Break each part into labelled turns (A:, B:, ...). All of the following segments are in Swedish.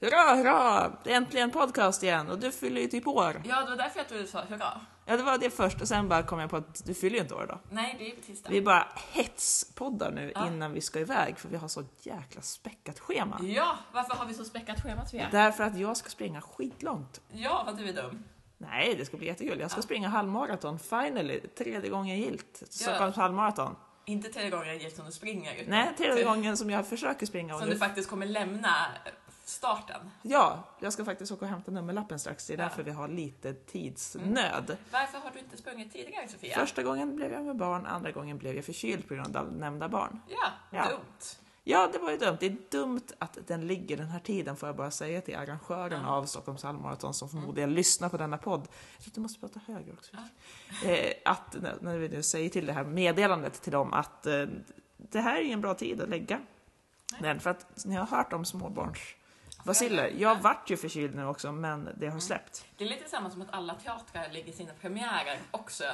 A: Hurra, hurra! Det är äntligen podcast igen och du fyller ju typ år.
B: Ja, det var därför jag trodde du sa hurra.
A: Ja, det var det först och sen bara kom jag på att du fyller ju inte år då.
B: Nej, det är ju på tisdag.
A: Vi bara hetspoddar nu
B: Ja.
A: innan vi ska iväg för vi har så jäkla späckat schema.
B: Ja, varför har vi så späckat schemat vi är?
A: Därför att jag ska springa skitlångt.
B: Ja, vad du är dum.
A: Nej, det ska bli jättekul. Jag ska springa halvmaraton, finally, tredje gången gilt. Stockholms halvmaraton.
B: Inte tredje gången gillt som du springer. utan
A: Nej, tredje
B: till-
A: gången som jag försöker springa. Och
B: Typ. Som du
A: nu...
B: faktiskt kommer lämna starten.
A: Ja, jag ska faktiskt åka och hämta nummerlappen strax. Det är därför vi har lite
B: Mm.
A: tidsnöd.
B: Varför har du inte sprungit tidigare, Sofia?
A: Första gången blev jag med barn, andra gången blev jag förkyld på grund av nämnda barn.
B: Ja,
A: Ja.
B: dumt.
A: Ja, det var ju dumt. Det är dumt att den ligger den här tiden, får jag bara säga till arrangören av Stockholms halvmaraton som förmodligen lyssnar på denna podd. Jag tror att du måste prata högre också. Eh, att när- när vi nu säger till det här meddelandet till dem att eh, det här är ingen bra tid att lägga den, för att ni har hört om småbarns Basiller. Jag vart ju förkyld nu också, men det har släppt.
B: Det är lite samma som att alla teatrar lägger sina premiärer också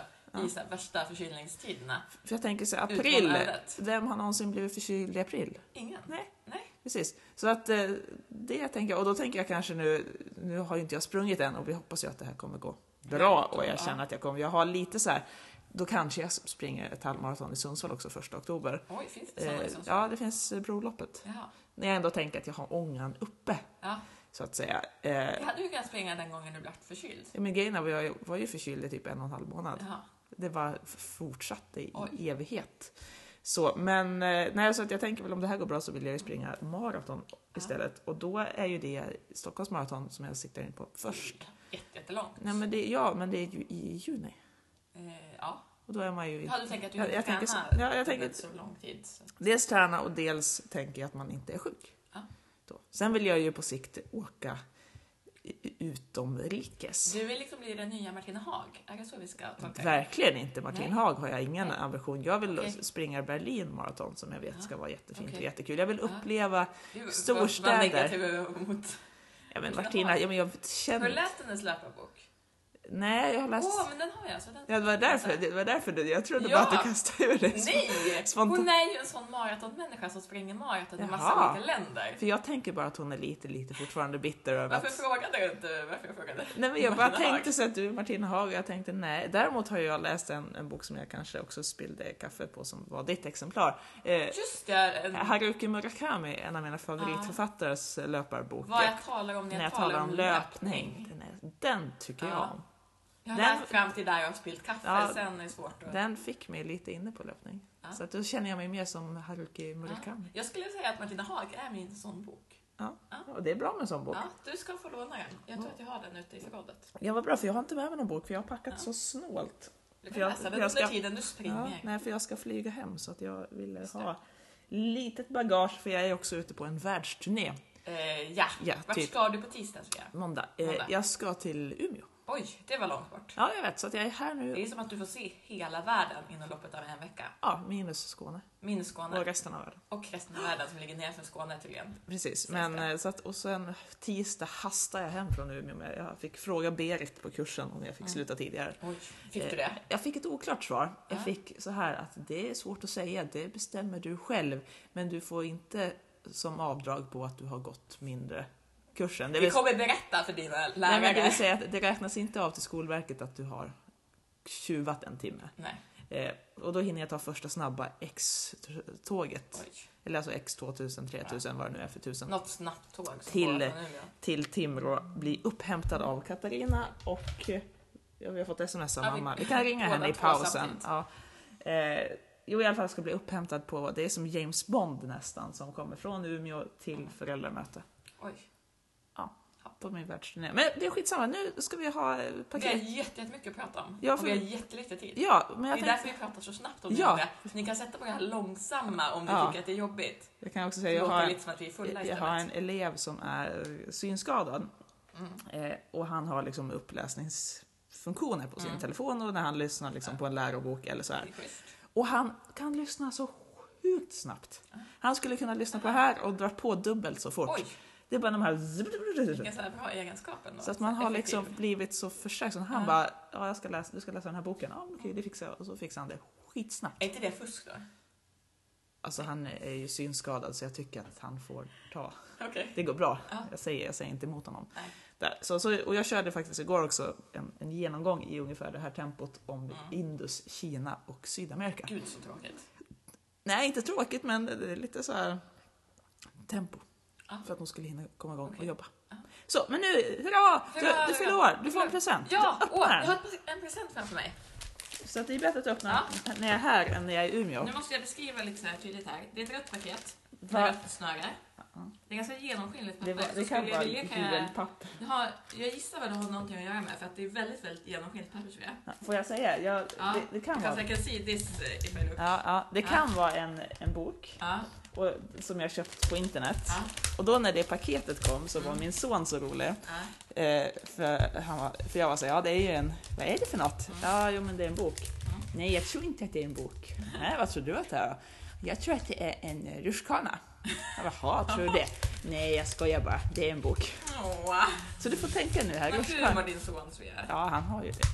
B: i så här värsta förkylningstiderna.
A: För jag tänker så här,
B: Utom
A: april,
B: ödet.
A: vem har någonsin blivit förkyld i april?
B: Ingen.
A: Nej.
B: Nej.
A: Precis. Så att eh, det tänker jag, och då tänker jag kanske nu, nu har ju inte jag sprungit än och vi hoppas ju att det här kommer gå bra och jag känner att jag kommer, jag har lite så här, då kanske jag springer ett halvmaraton i Sundsvall också första oktober.
B: Oj, finns det sådana
A: Eh,
B: liksom?
A: ja, det finns eh, Broloppet.
B: Jaha.
A: När jag ändå tänker att jag har ångan uppe,
B: Ja.
A: så att säga. Eh,
B: Jag hade ju kunnat springa den gången du blev förkyld.
A: men grejen var jag var ju förkyld i typ en och en halv månad.
B: Jaha.
A: Det var fortsatte i
B: Oj.
A: evighet. Så, men eh, nej, så att jag tänker väl om det här går bra så vill jag ju springa maraton istället. Och då är ju det Stockholms maraton som jag siktar in på först.
B: Jätte, jättelångt.
A: Nej, men det, ja, men det är ju i juni.
B: Eh, ja.
A: Och då är man ju...
B: Har du tänkt att du
A: Jag-
B: inte
A: jag tänker
B: tränar
A: så- ja, jag
B: under
A: tänker-
B: så lång tid? Så.
A: Dels träna och dels tänker jag att man inte är sjuk.
B: Ja.
A: Då. Sen vill jag ju på sikt åka i- utomrikes.
B: Du vill liksom bli den nya Martina Haag? Är det så vi ska tolka det?
A: Verkligen inte. Martin
B: Nej.
A: Haag har jag ingen
B: Nej.
A: ambition. Jag vill
B: Okej.
A: springa Berlin maraton som jag vet
B: Ja.
A: ska vara jättefint och
B: Okej.
A: jättekul. Jag vill
B: Ja.
A: uppleva
B: Du, vad-
A: Storstäder.
B: Vad negativ mot...
A: Ja, men
B: Jaha.
A: Martina, ja, men jag
B: Har du
A: känner...
B: läst hennes löparbok?
A: Nej, jag har
B: Åh,
A: läst...
B: men den har jag. Så den...
A: Ja, det var därför, det var därför du, jag trodde
B: Ja.
A: bara att du kastade ur det.
B: Nej!
A: Spontan-
B: Hon är ju en sån maratonmänniska som springer maraton i massa
A: Jaha.
B: olika länder.
A: För jag tänker bara att hon är lite, lite fortfarande bitter över
B: Varför
A: att...
B: frågade du inte varför jag frågade?
A: Nej, men jag bara
B: Martina Haag?
A: tänkte så att du är Martina Haag och jag tänkte nej. Däremot har jag läst en, en bok som jag kanske också spillde kaffe på som var ditt exemplar. Eh,
B: Just det, en...
A: Haruki Murakami, en av mina favoritförfattares eh, löparbok.
B: vad jag talar om när
A: när
B: jag,
A: jag talar om löpning. Den, är, den tycker jag
B: Ja.
A: om.
B: Jag har
A: Den-
B: lärt fram till där jag har spillt kaffe,
A: Ja.
B: sen är det svårt att...
A: Den fick mig lite inne på löpning.
B: Ja.
A: Så att då känner jag mig mer som Haruki Murakami.
B: Jag skulle säga att Martina Haag är min sån bok.
A: Ja.
B: Ja.
A: Och det är bra med en sån bok.
B: Ja, du ska få låna den. Jag tror att jag har den ute i förrådet.
A: Ja, vad bra, för jag har inte med mig någon bok för jag har packat så snålt.
B: Du
A: För
B: kan
A: jag-
B: läsa
A: för
B: den
A: jag
B: under
A: ska-
B: tiden du
A: Ja,
B: springer.
A: nej, för jag ska flyga hem så att jag ville
B: Just det.
A: ha litet bagage för jag är också ute på en världsturné
B: Eh, ja,
A: Ja,
B: vart
A: typ.
B: ska du på tisdag Sofia?
A: måndag. Eh,
B: Måndag.
A: Jag ska till Umeå.
B: Oj, det var långt bort.
A: Ja, jag vet, så att jag är här nu.
B: Det är som att du får se hela världen inom loppet av en vecka.
A: Ja, minus Skåne
B: Minus Skåne
A: och resten av världen.
B: och resten av världen som ligger nedanför Skåne tydligen.
A: Precis, men eh, så att, och sen tisdag hastar jag hem från Umeå. Men jag fick fråga Berit på kursen om jag
B: Mm.
A: fick sluta tidigare.
B: Oj, fick
A: Eh,
B: du det?
A: Jag fick ett oklart svar. Jag
B: Ja.
A: fick så här att det är svårt att säga, det bestämmer du själv. Men du får inte som avdrag på att du har gått mindre kursen. Det
B: Vi
A: vill,
B: kommer berätta för dina
A: nej,
B: lärare.
A: men det vill säga att det räknas inte av till Skolverket att du har tjuvat en timme.
B: Nej,
A: Eh, och då hinner jag ta första snabba X-tåget.
B: oj.
A: Eller alltså X2000, 3000, vad det nu är för tusen.
B: Något snabbt tåg som
A: Till-
B: går från Umeå.
A: till Timrå bli upphämtad av Katarina och eh, ja, vi har fått sms av
B: Ja, vi-
A: mamma. Vi kan ringa
B: båda
A: henne i
B: två
A: pausen.
B: samtidigt.
A: Ja. Eh, jo, i alla fall ska bli upphämtad på, det är som James Bond nästan, som kommer från Umeå till föräldramöte.
B: Oj.
A: Ja, på min världsturné. Men det är skitsamma, nu ska vi ha eh,
B: Vi har
A: paket.
B: jätte- jättemycket att prata om
A: Ja,
B: och
A: för-
B: vi har jättelite tid.
A: Ja, men
B: Det är
A: jag, tänkte,
B: därför vi pratar så snabbt om
A: Ja.
B: det. Så ni kan sätta på det här långsamma om ni
A: Ja.
B: tycker att det är jobbigt.
A: jag kan också
B: Det
A: säga, jag
B: låter
A: har,
B: lite som att vi är fulla
A: jag
B: istället.
A: har en elev som är eh, synskadad.
B: Mm.
A: Eh, och han har liksom uppläsningsfunktioner på sin
B: Mm.
A: telefon och när han lyssnar liksom på en lärobok eller så här.
B: Det är schysst.
A: Och han kan lyssna så sjukt snabbt. Han skulle kunna lyssna på det här och dra på dubbelt så fort.
B: Oj,
A: Det är bara de här...
B: vilken så här bra egenskap ändå.
A: Så att man har
B: Effektiv.
A: liksom blivit så försökt. Så han bara, ja, jag ska läsa, du ska läsa den här boken. Ja, men okej, det fixar jag. Och så fixar han det skitsnabbt.
B: Är inte det fusk då?
A: Alltså han är ju synskadad så jag tycker att han får ta.
B: Okej.
A: Det går bra.
B: Ja.
A: Jag, säger, jag säger inte emot honom.
B: Nej.
A: Där. Så, så, och jag körde faktiskt igår också en, en genomgång i ungefär det här tempot om
B: Mm.
A: Indus, Kina och Sydamerika.
B: Gud så tråkigt.
A: Nej, inte tråkigt men det är lite så här tempo.
B: Ja.
A: För att hon skulle hinna komma igång och
B: Okej.
A: jobba.
B: Ja.
A: Så, men nu, hurra!
B: Hurra,
A: Du, du fyller
B: hurra.
A: år, du får en present.
B: Ja,
A: Du öppnar
B: åh, jag
A: den.
B: har en present framför mig.
A: Så att det är bättre att öppna när jag är här än när jag är i Umeå.
B: Nu måste jag beskriva lite så här tydligt här. Det är ett rött paket
A: Va?
B: med rött snöre. Det är ganska genomskinligt
A: Det,
B: papper.
A: var,
B: så
A: det kan
B: skulle jag
A: vara
B: vilja kan jag...
A: julpapper.
B: Jag, har, jag gissar vad det har någonting att göra med för att det är väldigt, väldigt genomskinligt papper tror jag.
A: Ja, Får jag säga? Jag,
B: Ja,
A: det, det kan
B: Because
A: vara,
B: I can see this eh, if I look.
A: ja, ja, det
B: Ja.
A: kan vara en, en bok
B: Ja,
A: och, som jag köpt på internet.
B: ja,
A: Och då när det paketet kom så var
B: Mm.
A: min son så rolig.
B: ja.
A: Eh, för, han var, för jag var så här, ja det är ju en, vad är det för något?
B: Mm.
A: Ja, jo men det är en bok.
B: Mm.
A: Nej, jag tror inte att det är en bok. Nej, vad tror du att det är då? Jag tror att det är en eh, rutschkana. Jag bara, Jaha, tror du det? Nej, jag skojar bara, det är en bok.
B: Åh,
A: Så du får tänka nu här,
B: vad tur
A: rutschkana.
B: var din son tror jag.
A: Ja, han har ju det.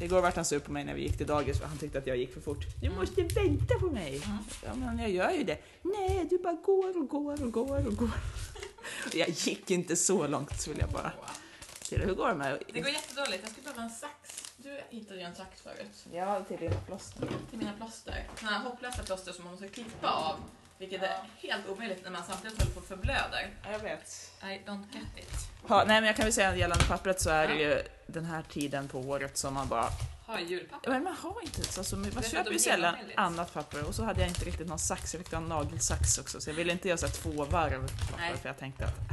B: Ja.
A: Igår vart han sur på mig när vi gick till dagis för han tyckte att jag gick för fort. Du
B: Mm.
A: måste vänta på mig!
B: Mm.
A: Ja, men jag gör ju det. Nej, du bara går och går och går och går. Jag gick inte så långt vill jag bara.
B: Åh.
A: Ser du hur går det med?
B: Det går jättedåligt. Jag skulle behöva en sax. Du hittade ju en sax förut.
A: Ja, till din plåster.
B: Till mina plåster. Såna här hopplösa plåster som man måste klippa av. Vilket är helt omöjligt när man samtidigt håller på och förblöder.
A: Jag vet.
B: I don't get it.
A: Ja, nej, men jag kan väl säga att gällande pappret så är det ju den här tiden på året som man bara...
B: Har julpapper.
A: Ja, Men man har inte så alltså, man
B: Därför
A: köper
B: de
A: ju sällan
B: genomskinligt.
A: annat papper och så hade jag inte riktigt någon sax, jag fick ha en nagelsax också så jag ville inte göra så här två varv papper
B: Nej.
A: för jag tänkte att äh,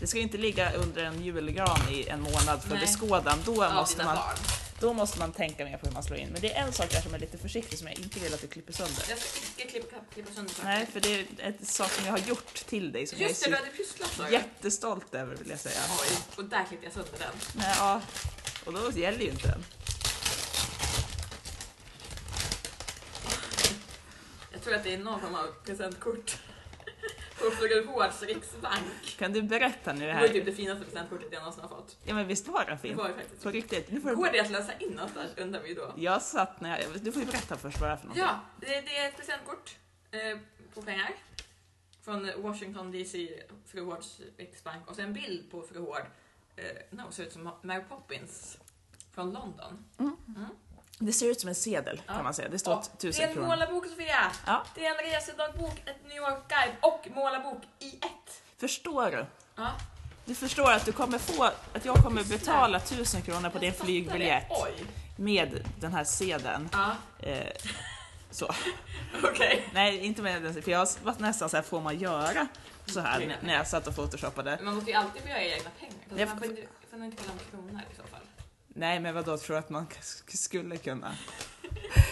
A: det ska ju inte ligga under en julgran i en månad för
B: Nej.
A: beskådan, då,
B: Av
A: måste
B: dina
A: man,
B: barn.
A: då måste man tänka mer på hur man slår in. Men det är en sak där som är lite försiktig som jag inte vill att du klipper sönder.
B: Jag ska icke klippa, klippa sönder saker.
A: Nej, för det är en sak som jag har gjort till dig som
B: Just det,
A: jag
B: du
A: är
B: hade pysslat
A: så
B: för.
A: jättestolt över vill jag säga.
B: Oj, och där klippte jag sönder den.
A: Nej, ja. Och då gäller ju inte den.
B: Jag tror att det är någon form av presentkort. Från Fågelhårs riksbank.
A: Kan du berätta nu det
B: Det var ju typ
A: här?
B: det finaste presentkortet jag någonsin har fått.
A: Ja men visst var den
B: Det
A: fin?
B: var ju faktiskt.
A: På riktigt. Nu får
B: Går
A: du...
B: det att läsa in någonstans undrar vi ju då.
A: Jag satt när jag... Du får ju berätta först vad det är för något.
B: Ja, det, det är ett presentkort eh, på pengar från Washington DC, fru Hårds riksbank och sen en bild på fru Hård eh, när hon ser ut som Mary Poppins från London.
A: Det ser ut som en sedel
B: Ja.
A: kan man säga. Det står
B: Och det är
A: tusen
B: en
A: kronor.
B: målarbok Sofia!
A: Ja.
B: Det är en resedagbok, ett New York Guide och målarbok i ett.
A: Förstår du?
B: Ja,
A: Du förstår att du kommer få... Att jag kommer betala tusen kronor på
B: jag
A: din
B: fattar
A: flygbiljett
B: det. Oj!
A: med den här sedeln.
B: Ja,
A: Eh, så.
B: okej.
A: Nej, inte med den. För jag var nästan så här, får man göra så här när- när jag satt och photoshoppade?
B: Man måste ju alltid börja i egna pengar. Fast
A: Jag-
B: man får inte, får nog inte kolla med kronor i så fall.
A: Nej, men vadå, tror du att man sk- skulle kunna?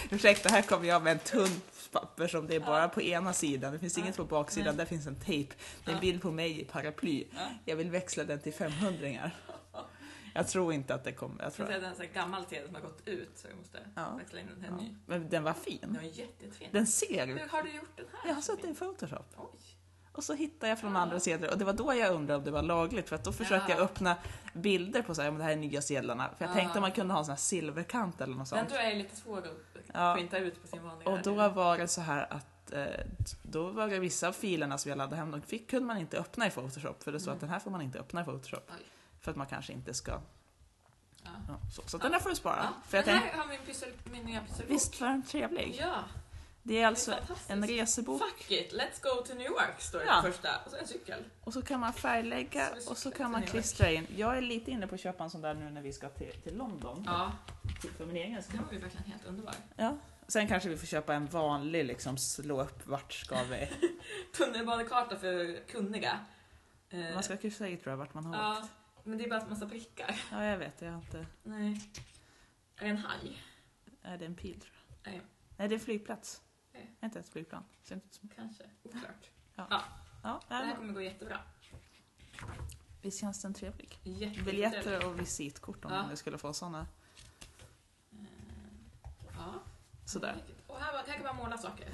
A: Ursäkta, här kommer jag med en tunn papper som det är bara på ena sidan. Det finns inget på baksidan,
B: Nej.
A: där finns en tejp. Det är en
B: Ja.
A: bild på mig i paraply.
B: Ja.
A: Jag vill växla den till 500 Jag tror inte att det kommer. Jag
B: Så
A: tror
B: det är en sån här gammal sedel som har gått ut så vi måste
A: Ja.
B: växla in den till
A: ja.
B: en ny.
A: Men den var
B: Den
A: fin.
B: var jätte- jättefin.
A: Den ser...
B: Hur har du gjort den här?
A: Jag har suttit i Photoshop.
B: Oj.
A: Och så hittade jag från
B: Ja.
A: andra sedlar och det var då jag undrade om det var lagligt för att då försökte
B: Ja.
A: jag öppna bilder på så här, om det här är nya sedlarna. För jag
B: Ja.
A: tänkte om man kunde ha en sån här silverkant eller något sånt.
B: Den tror jag är lite svår att
A: Ja.
B: printa ut på sin vanliga.
A: Och då var det så här att eh, då var det vissa av filerna som jag laddade hem, de fick, kunde man inte öppna i Photoshop för det stod
B: Mm.
A: att den här får man inte öppna i Photoshop.
B: Oj.
A: För att man kanske inte ska...
B: Ja.
A: Ja, så så att den där får du spara.
B: Ja.
A: För jag
B: den
A: tänkte,
B: här har min, pyssel, min nya pysselbok.
A: visst var den trevlig?
B: Ja,
A: Det är alltså
B: det är fantastiskt.
A: en resebok
B: Fuck it, let's go to New York står det
A: Ja.
B: på första. Och så en cykel.
A: och så kan man färglägga
B: Så vi
A: och så
B: cyklar
A: kan man
B: till New York.
A: klistra in. Jag är lite inne på att köpa en sån där nu när vi ska till, till London.
B: Ja,
A: Till, för min egen skull.
B: den var ju verkligen helt underbar.
A: Ja. Sen kanske vi får köpa en vanlig liksom slå upp vart ska vi...
B: Tunnelbanekarta för kunniga. Eh,
A: Man ska kryssa i tror jag vart man har
B: ja,
A: åkt.
B: men det är bara en massa prickar.
A: Ja, jag vet. Jag har inte...
B: Nej. Är det en haj?
A: Är det en pil tror jag?
B: Nej.
A: Nej, det är en flygplats.
B: Nej.
A: Inte ett flygplan. Ser inte ut som...
B: Kanske. Oklart.
A: Ja,
B: Det
A: nej,
B: här
A: men
B: kommer gå jättebra.
A: visst känns den trevlig?
B: Jättetrevligt.
A: Biljetter och visitkort om
B: Ja.
A: man nu skulle få sådana.
B: Eh, Ja.
A: Sådär.
B: Och här, var- här kan man måla saker.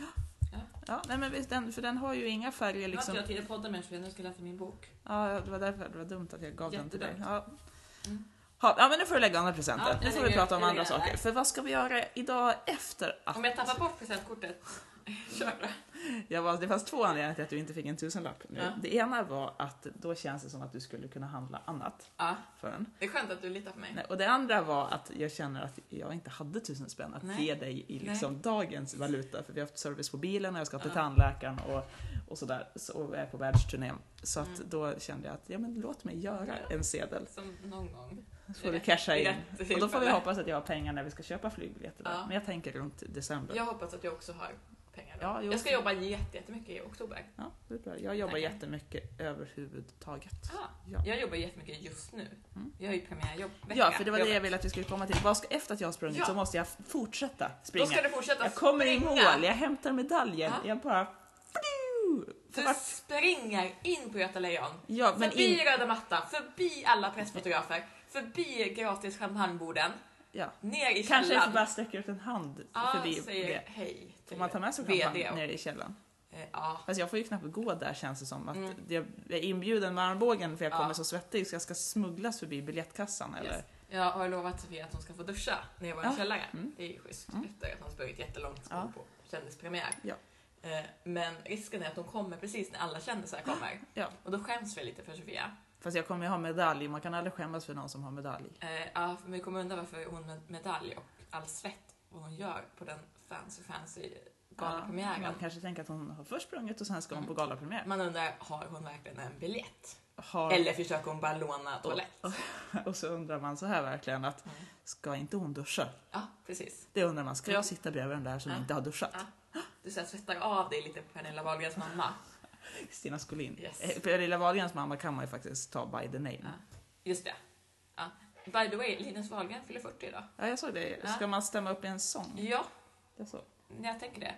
A: Ja, nej, men visst, den, för den har ju inga färger liksom.
B: Jag har inte podda med för jag nu ska läsa min bok.
A: Ja, det var därför det var dumt att jag gav den till
B: Jättedumt.
A: dig. Ja.
B: Mm.
A: Ha, ja men nu får du lägga undan
B: Ja,
A: presenten.
B: jag
A: nu får vi
B: lägger-
A: prata om
B: jag
A: andra
B: lägger den
A: saker.
B: där.
A: För vad ska vi göra idag efter att...
B: Om jag tappar bort presentkortet, kör då.
A: Jag var, det fanns två anledningar till att du inte fick en tusenlapp nu.
B: Ja.
A: Det ena var att då känns det som att du skulle kunna handla annat
B: Ja,
A: för den.
B: det är skönt att du litar på mig.
A: Nej, Och det andra var att jag känner att jag inte hade tusen spänn att
B: Nej.
A: ge dig i liksom dagens valuta. För vi har haft service på bilen och jag ska till
B: Ja.
A: tandläkaren och, och sådär. Så, och jag är på världsturnén. Så att
B: Mm.
A: då kände jag att, ja men låt mig göra
B: Ja.
A: en sedel.
B: Som någon gång.
A: Så får du
B: Rätt-
A: casha in.
B: rätt
A: Och då får vi
B: tillfälle.
A: hoppas att jag har pengar när vi ska köpa flygbiljetter. där.
B: Ja.
A: Men jag tänker runt december.
B: Jag hoppas att jag också har pengar då.
A: Ja, jo.
B: jag ska jobba jätte- jättemycket i oktober.
A: Ja, det är bra. Jag jobbar
B: Tackar.
A: jättemycket överhuvudtaget.
B: Ah,
A: Ja.
B: jag jobbar jättemycket just nu.
A: Mm.
B: Jag har ju premiärjobb
A: Ja, för det var det jag ville att vi skulle komma till. Vad ska, efter att jag har sprungit
B: Ja.
A: så måste jag fortsätta
B: Då
A: springa.
B: ska du fortsätta
A: Jag kommer i
B: springa.
A: mål, jag hämtar medaljen.
B: Ja.
A: Jag bara... Fliu! För
B: Du
A: vart-
B: springer in på Göta Lejon.
A: Ja, men
B: förbi
A: in...
B: röda mattan, förbi alla pressfotografer, förbi gratis champagneborden,
A: Ja.
B: ner i
A: Kanske jag
B: källaren.
A: bara sträcker ut en hand
B: Ja,
A: förbi
B: säger
A: det.
B: hej.
A: Får
B: till
A: man ta med sig
B: VD
A: champagne
B: och-
A: ner i källaren?
B: Eh, Ja,
A: Fast jag får ju knappt gå där känns det som. Att
B: Mm.
A: Jag är inbjuden med armbågen för jag
B: Ja.
A: kommer så svettig så jag ska smugglas förbi biljettkassan eller?
B: Yes. jag har lovat Sofia att hon ska få duscha nere i vår
A: Ja.
B: källare.
A: Mm.
B: Det är ju schysst
A: Mm.
B: efter att hon sprungit jättelångt
A: Ja.
B: på kändispremiär.
A: Ja.
B: Eh, Men risken är att hon kommer precis när alla kändisar kommer.
A: Ja.
B: Och då skäms vi lite för Sofia.
A: Fast jag kommer ju ha medalj, man kan aldrig skämmas för någon som har medalj.
B: Eh, Ja, men vi kommer undra varför hon med medalj och all svett vad hon gör på den fancy fancy galapremiären.
A: man kanske tänker att hon har först sprungit och sen ska hon på
B: Mm.
A: galapremiär.
B: Man undrar, har hon verkligen en biljett?
A: Har...
B: Eller försöker hon bara låna toalett?
A: Och så undrar man så här verkligen att,
B: Mm.
A: ska inte hon duscha?
B: Ja, precis.
A: Det undrar man, ska jag sitta bredvid den där som
B: Ja.
A: inte har duschat?
B: Ja. Du så här, svettar av dig lite på Pernilla Wahlgrens mamma.
A: Stina Skolin.
B: Yes.
A: Eh, Pernilla Wahlgrens mamma kan man ju faktiskt ta by the name.
B: Ja. Just det. Ja. By the way, Linus Wahlgren fyller 40 idag.
A: Ja, jag såg det.
B: Ja.
A: Ska man stämma upp i en sång?
B: Ja,
A: Jag såg.
B: jag tänker det.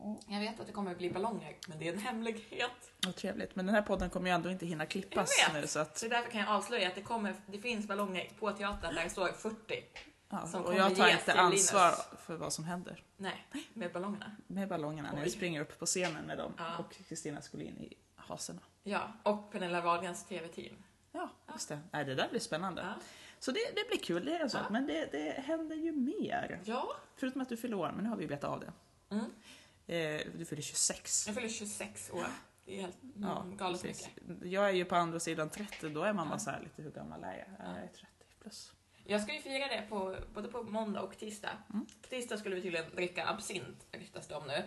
A: Mm.
B: Jag vet att det kommer bli ballonger, men det är en hemlighet.
A: Vad trevligt. Men den här podden kommer ju ändå inte hinna klippas
B: Jag vet.
A: nu så att...
B: Så därför kan jag avslöja att det, kommer, det finns ballonger på teatern där det står 40.
A: Ja.
B: Som
A: Och
B: kommer
A: jag tar
B: ges
A: inte
B: till
A: ansvar
B: Linus.
A: för vad som händer
B: Nej, med ballongerna.
A: med ballongerna när
B: Oj.
A: jag springer upp på scenen med dem
B: Ja.
A: och Kristina Skolin i hasorna.
B: Ja, och Pernilla Wahlgrens TV-team.
A: Ja, just det. Nej, det där blir spännande.
B: Ja.
A: Så det, det blir kul, det är en sak.
B: Ja.
A: Men det, det händer ju mer.
B: ja,
A: Förutom att du fyller år, men nu har vi ju betat av det.
B: Mm.
A: Eh, du fyller 26.
B: jag fyller 26 år. Det är helt mm,
A: Ja,
B: galet
A: precis.
B: mycket.
A: Jag är ju på andra sidan 30, då är man bara
B: Ja.
A: så här lite, hur gammal är jag?
B: Ja.
A: Jag är 30 plus.
B: Jag ska ju fira det på, både på måndag och tisdag.
A: Mm.
B: På tisdag skulle vi tydligen dricka absint, ryktas det om nu.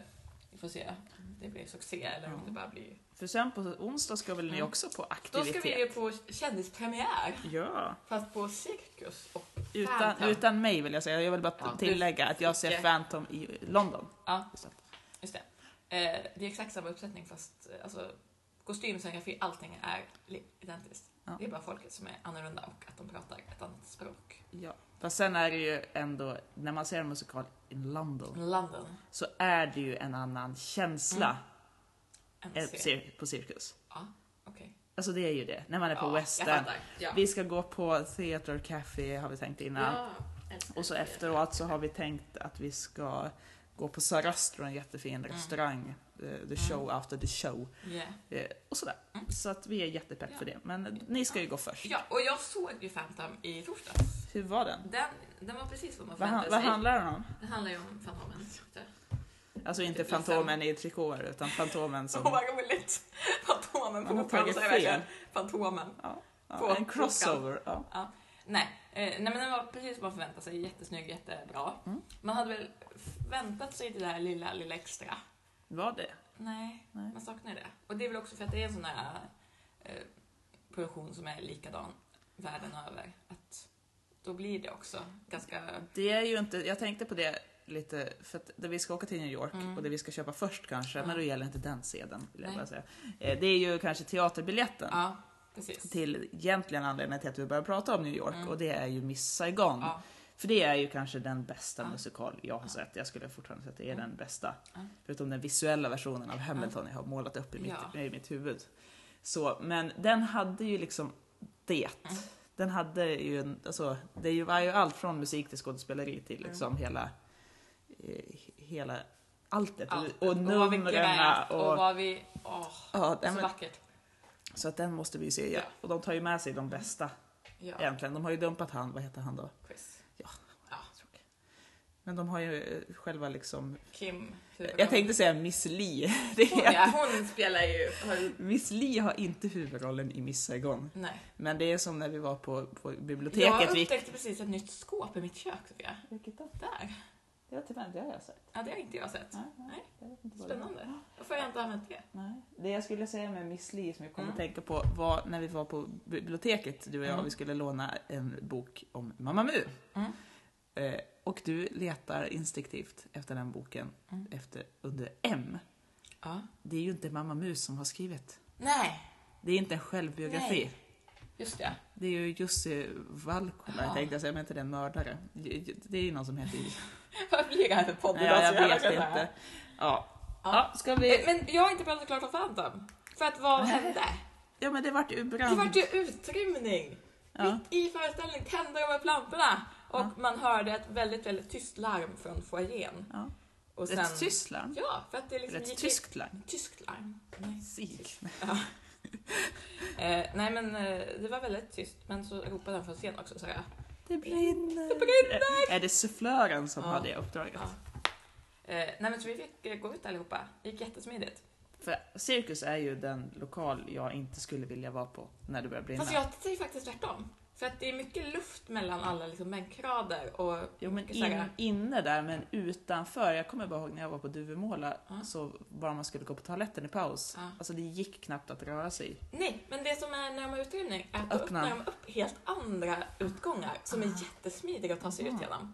B: Vi får se om det blir succé eller om
A: Ja.
B: det bara blir...
A: För sen på onsdag ska väl ni
B: Mm.
A: också på
B: Då
A: aktivitet?
B: ska vi ju på kändispremiär,
A: Ja,
B: fast på cirkus. Och, Phantom.
A: utan, utan mig vill jag säga. Jag vill bara
B: Ja, du-
A: tillägga att jag ser
B: Icke.
A: Phantom i London.
B: Ja.
A: Just det.
B: just det. Eh, det är exakt samma uppsättning fast eh, alltså, kostym, scenografi, allting är li- identiskt.
A: Ja.
B: Det är bara folket som är annorlunda och att de pratar ett annat språk.
A: Ja. Fast sen är det ju ändå, när man ser en musikal i London,
B: London.
A: så är det ju en annan känsla
B: Mm,
A: eh,
B: NC.
A: cir- på cirkus.
B: Ja, okej.
A: Alltså det är ju det, när man är på
B: Ja,
A: West
B: Jag
A: End.
B: fattar. Ja.
A: Vi ska gå på Theater Café har vi tänkt innan.
B: Ja, älskar
A: Och så
B: det.
A: efteråt så har vi tänkt att vi ska gå på Sarastro, en jättefin
B: Mm.
A: restaurang. eh, The show after the show.
B: Yeah.
A: eh, Och sådär.
B: Mm.
A: Så att vi är jättepepp för det. Men ni ska ju gå först.
B: Ja, och jag såg ju Phantom i torsdags.
A: Hur var den?
B: Den, den var precis vad man
A: Vad, han,
B: förväntade
A: vad
B: sig.
A: handlar den om?
B: Det handlar ju om Fantomen.
A: Alltså inte
B: Liksom-
A: Fantomen i trikåer utan Fantomen
B: Åh
A: som...
B: vad roligt! Fantomen på
A: Man har
B: Operan
A: tagit
B: så är det verkligen
A: fel.
B: Fantomen.
A: Ja,
B: på-
A: en crossover. Ja.
B: Nej, eh, nej men den var precis vad man förväntade sig. Jättesnygg, jättebra.
A: Mm.
B: Man hade väl väntat sig det där lilla, lilla extra.
A: Var det?
B: Nej,
A: Nej.
B: man saknar det. Och det är väl också för att det är en sån här eh, produktion som är likadan världen över. Att då blir det också ganska...
A: Det är ju inte, jag tänkte på det lite, för att det vi ska åka till New York
B: Mm.
A: och det vi ska köpa först kanske,
B: Ja.
A: men då gäller inte den sedeln. Vill jag
B: Nej.
A: bara säga. Eh, Det är ju kanske teaterbiljetten
B: Ja, precis.
A: till egentligen anledningen till att vi börjar prata om New York
B: Mm.
A: och det är ju Miss Saigon.
B: Ja.
A: För det är ju kanske den bästa
B: Ja.
A: musikal jag har
B: Ja.
A: sett. Jag skulle fortfarande säga att det är
B: Mm.
A: den bästa.
B: Ja.
A: Förutom den visuella versionen av Hamilton jag har målat upp i mitt,
B: Ja.
A: i mitt huvud. Så, men den hade ju liksom det.
B: Mm.
A: Den hade ju, en- alltså, det är ju- var ju allt från musik till skådespeleri till
B: Mm.
A: liksom hela, eh, hela alltet.
B: Allt.
A: Och, och
B: vad vi
A: numren.
B: grät,
A: Och,
B: och vad vi... Åh,
A: ja,
B: så
A: nej, men,
B: vackert.
A: så att den måste vi ju se.
B: Ja.
A: Och de tar ju med sig de bästa
B: Ja,
A: egentligen. De har ju dumpat han, vad heter han då?
B: quiz.
A: Men de har ju eh, själva liksom...
B: Kim, huvudrollen.
A: Jag tänkte säga Miss Li. Det
B: hon,
A: är...
B: ja, hon spelar ju... Har, ju-
A: Miss Li har inte huvudrollen i Miss Saigon.
B: nej.
A: Men det är som när vi var på, på biblioteket.
B: Jag
A: vi-
B: upptäckte precis ett nytt skåp i mitt kök, Sofia.
A: Vilket då?
B: Där.
A: Det har tyvärr det har jag sett.
B: Ja, det har inte jag sett.
A: Nej, nej, jag vet inte vad det var.
B: Spännande. Varför har jag inte använt det?
A: Nej. Det jag skulle säga med Miss Li som jag kom
B: Mm.
A: att tänka på var när vi var på biblioteket, du och jag,
B: Mm.
A: och vi skulle låna en bok om Mamma Mu.
B: Mm.
A: Eh, och du letar instinktivt efter den boken
B: Mm.
A: efter, under M.
B: Ja.
A: Det är ju inte Mamma Mu som har skrivit.
B: Nej,
A: Det är inte en självbiografi.
B: Nej. just det.
A: Det är ju Jussi Valkola,
B: Ja.
A: tänkte jag säga, men inte den mördare. Det det är ju någon som heter...
B: Vad blir det här för Alltså, podd
A: Nej,
B: idag?
A: jag
B: Så jävla
A: vet
B: kul.
A: inte. Ja.
B: Ja.
A: ja, ska
B: Men-
A: vi...
B: Men jag har inte pratat klart om Phantom. För att vad
A: Nej.
B: hände?
A: Ja, men det vart ju brand.
B: Det vart ju utrymning!
A: Ja.
B: Mitt i föreställningen tände de upp lamporna och
A: Ja.
B: man hörde ett väldigt, väldigt tyst larm från foajén.
A: Ja.
B: Och sen-
A: Rätt tyst larm.
B: Ja, för att det liksom
A: Rätt
B: gick-
A: tyskt larm.
B: Tyskt larm. Nej.
A: Sig.
B: Eh, nej men eh, det var väldigt tyst, men så ropade han från scen också så jag.
A: Det brinner.
B: Det brinner!
A: Är det sufflören som
B: Ja.
A: har det uppdraget?
B: Ja. Eh, nej men så vi fick eh, gå ut allihopa, det gick jättesmidigt.
A: För cirkus är ju den lokal jag inte skulle vilja vara på när det börjar brinna.
B: Fast jag säger faktiskt tvärtom. För att det är mycket luft mellan alla liksom, bänkrader och...
A: Jo men
B: Så
A: in,
B: här-
A: inne där men utanför. Jag kommer bara ihåg när jag var på Duvemåla
B: Ja.
A: så bara man skulle gå på toaletten i paus.
B: Ja.
A: Alltså det gick knappt att röra sig.
B: Nej, men det som är när de har utrymning är att då
A: Öppna.
B: öppnar de upp helt andra utgångar som är
A: Ah.
B: jättesmidiga att ta sig ut
A: Aha.
B: genom.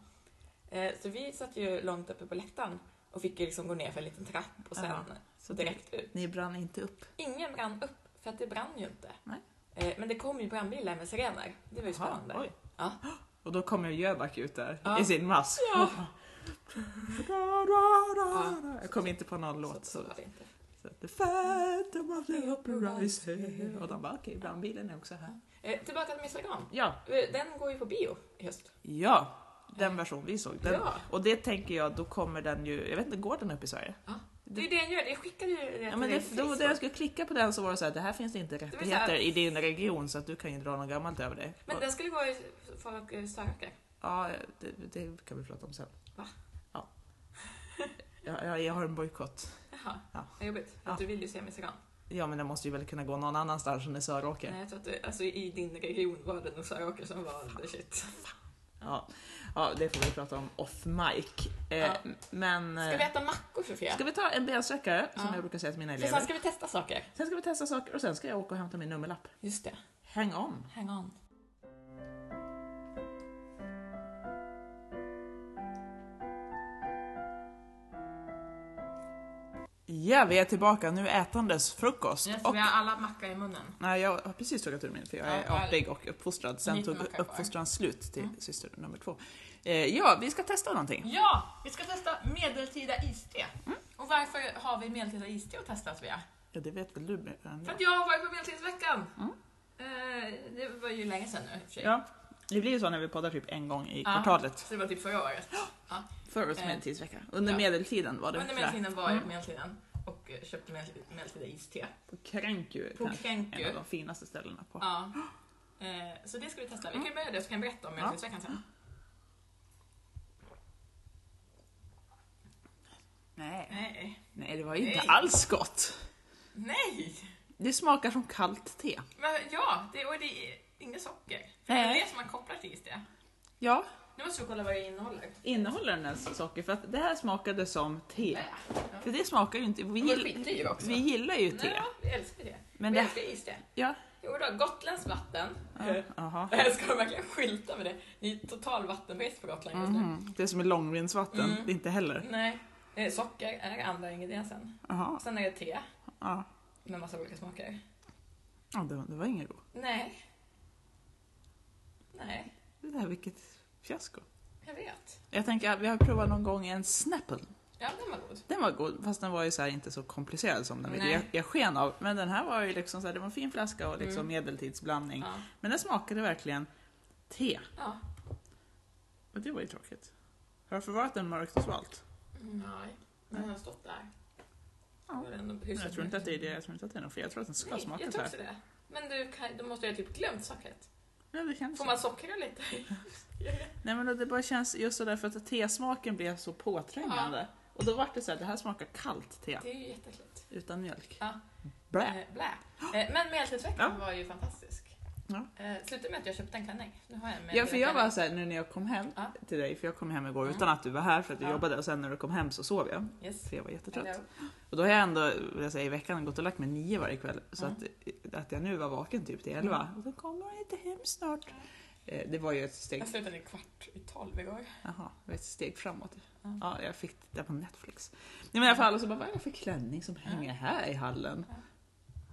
B: Eh, så vi satt ju långt uppe på läktaren och fick ju liksom gå ner för en liten trapp och sen
A: Ja.
B: så direkt ut.
A: Ni brann inte upp.
B: Ingen brann upp, för att det brann ju inte.
A: Nej.
B: Eh, men det kom ju brandbilar med sirener. Det var ju spännande.
A: Jaha, oj.
B: Ja.
A: Och då kommer Jöback ut där
B: Ja.
A: i sin mask.
B: Ja.
A: Ja. Jag kom inte på någon låt.
B: Så,
A: Så,
B: så Mm. var det inte.
A: så, The Phantom of the Opera is here. Och de bara okej, brandbilen är också här.
B: Eh, tillbaka till Miss Saigon.
A: Ja,
B: Eh, Den går ju på bio i höst.
A: Ja, den version vi såg. Den.
B: Ja.
A: Och det tänker jag, då kommer den ju, jag vet inte, går den upp i Sverige?
B: Det är ju det jag gör. Jag skickade ju det
A: Ja, men
B: dig
A: det,
B: på
A: då,
B: Facebook.
A: när jag skulle klicka på den så var det så här, det här finns inte
B: så
A: rättigheter
B: här-
A: i din region så att du kan ju dra något gammalt över dig.
B: Men
A: Och-
B: den skulle gå i folk eh, Sörhacker.
A: Ja, det, det kan vi prata om sen.
B: Va?
A: Ja. Jag, jag, jag har en bojkott.
B: Jaha,
A: Ja.
B: vad jobbigt. För
A: Ja.
B: att du vill ju se Miss Saigon.
A: Ja, men den måste ju väl kunna gå någon annanstans än i Söråker.
B: Nej, jag tror att du, alltså, i din region var det nog Sörhacker som var the shit.
A: Ja. ja, det får vi prata om off mic. Eh,
B: Ja.
A: Men... eh,
B: Ska vi äta mackor Sofia?
A: ska vi ta en bensträckare, som
B: Ja.
A: jag brukar säga till mina
B: För
A: elever.
B: sen ska vi testa saker.
A: Sen ska vi testa saker och sen ska jag åka och hämta min nummerlapp.
B: Just det.
A: Hang on!
B: Hang on.
A: Ja, vi är tillbaka. Nu ätandes frukost.
B: Yes,
A: och,
B: Vi har alla mackor i munnen.
A: nej, jag har precis tuggat ur min, för jag
B: Ja,
A: är
B: jag-
A: artig och uppfostrad. Sen
B: Lite
A: tog
B: macka kvar.
A: uppfostran slut till
B: Mm.
A: syster nummer två. Eh, ja, vi ska testa någonting.
B: Ja, vi ska testa medeltida iste.
A: Mm.
B: Och varför har vi medeltida iste att testa Svea?
A: Ja, det vet väl du mer än
B: För
A: jag.
B: att jag har varit på Medeltidsveckan. Eh, det var ju länge sedan nu i och för sig.
A: Ja, det blir ju så när vi poddar typ en gång i
B: Ja.
A: kvartalet.
B: Så det var typ förra året. Ja.
A: Förr
B: Eh,
A: medeltidsvecka. Under
B: ja.
A: medeltiden var det.
B: Under
A: sådär.
B: medeltiden var jag på
A: Mm.
B: medeltiden och eh, köpte medel- medeltida iste.
A: På Kränku,
B: På
A: kanske en av
B: Kränku.
A: de finaste ställena på. Mm.
B: Ja. Eh, så det ska vi testa. Vi kan ju börja det så kan jag berätta om Medeltidsveckan sen.
A: Nej.
B: Nej.
A: Nej, det var ju inte
B: Nej.
A: alls gott.
B: Nej!
A: Det smakar som kallt te.
B: Men ja, det, och det är inget socker. För det
A: Nej.
B: är det som man kopplar till iste.
A: Ja,
B: Nu måste vi kolla vad det innehåller.
A: innehåller den ens socker? För att det här smakade som te.
B: Ja.
A: För det smakar ju inte... Vi,
B: Men det
A: gill-
B: skiter ju också.
A: vi gillar ju te.
B: Nej, vi älskar det.
A: Men
B: vi
A: det-
B: älskar iste.
A: Ja.
B: Jo då, gotländskt vatten.
A: ja. Aha.
B: Jag ska de verkligen skylta med det. Det är total vattenbrist på Gotland just nu.
A: Mhm. Det är som är långvindsvatten,
B: Mm.
A: det är inte heller.
B: Nej, eh, socker är andra ingrediensen.
A: Aha.
B: Sen är det te
A: Ja.
B: med massa olika smaker.
A: Ja, det, det var inget god.
B: Nej. Nej,
A: Det där, vilket fiasko.
B: jag vet.
A: Jag tänker, att vi har provat någon gång en Snapple.
B: Ja, den var god.
A: Den var god, fast den var ju så här inte så komplicerad som den ville
B: Nej.
A: ge- ge sken av. Men den här var ju liksom så här, det var en fin flaska och liksom
B: Mm.
A: medeltidsblandning.
B: Ja.
A: Men den smakade verkligen te.
B: ja.
A: Och det var ju tråkigt. Har du förvarat den mörkt och svalt?
B: Nej, men den har stått där.
A: Ja.
B: Då var det ändå
A: Men
B: hyfsat
A: Jag tror inte att det är det, jag tror inte att det är något fel. Jag tror att den ska
B: Nej,
A: smaka
B: jag
A: så
B: tror
A: här.
B: också det. Men du, kan, då måste jag typ glömt sockret.
A: Ja, det känns
B: Får
A: så.
B: man sockra lite?
A: Nej men det bara känns just sådär för att tesmaken blev så påträngande. Och då var det så här, det här smakar kallt te
B: Det är ju jätteäckligt.
A: utan mjölk.
B: Ja.
A: Blä!
B: Eh, Blä. Eh, Men medeltidsveckan var ju fantastisk.
A: Ja.
B: Eh, Slutade med att jag köpte en klänning. Nu har jag en
A: Ja för jag var
B: medeltidsklänning.
A: såhär nu när jag kom hem
B: Ja.
A: till dig, för jag kom hem igår
B: Mm.
A: utan att du var här för att du
B: Ja.
A: jobbade och sen när du kom hem så sov jag.
B: Yes.
A: För jag var jättetrött.
B: Hello.
A: Och då har jag ändå vill jag säga, i veckan gått och lagt mig nio varje kväll. Så
B: Mm.
A: att, att jag nu var vaken typ till elva.
B: Mm.
A: Och då kommer hon inte hem snart. Eh, det var ju ett steg,
B: Jag slutade kvart i tolv igår.
A: aha, det var ett steg framåt.
B: Mm.
A: Ja, jag fick titta på Netflix. Nej, men i alla fall, och så bara, vad är det för klänning som hänger här i hallen?
B: Mm.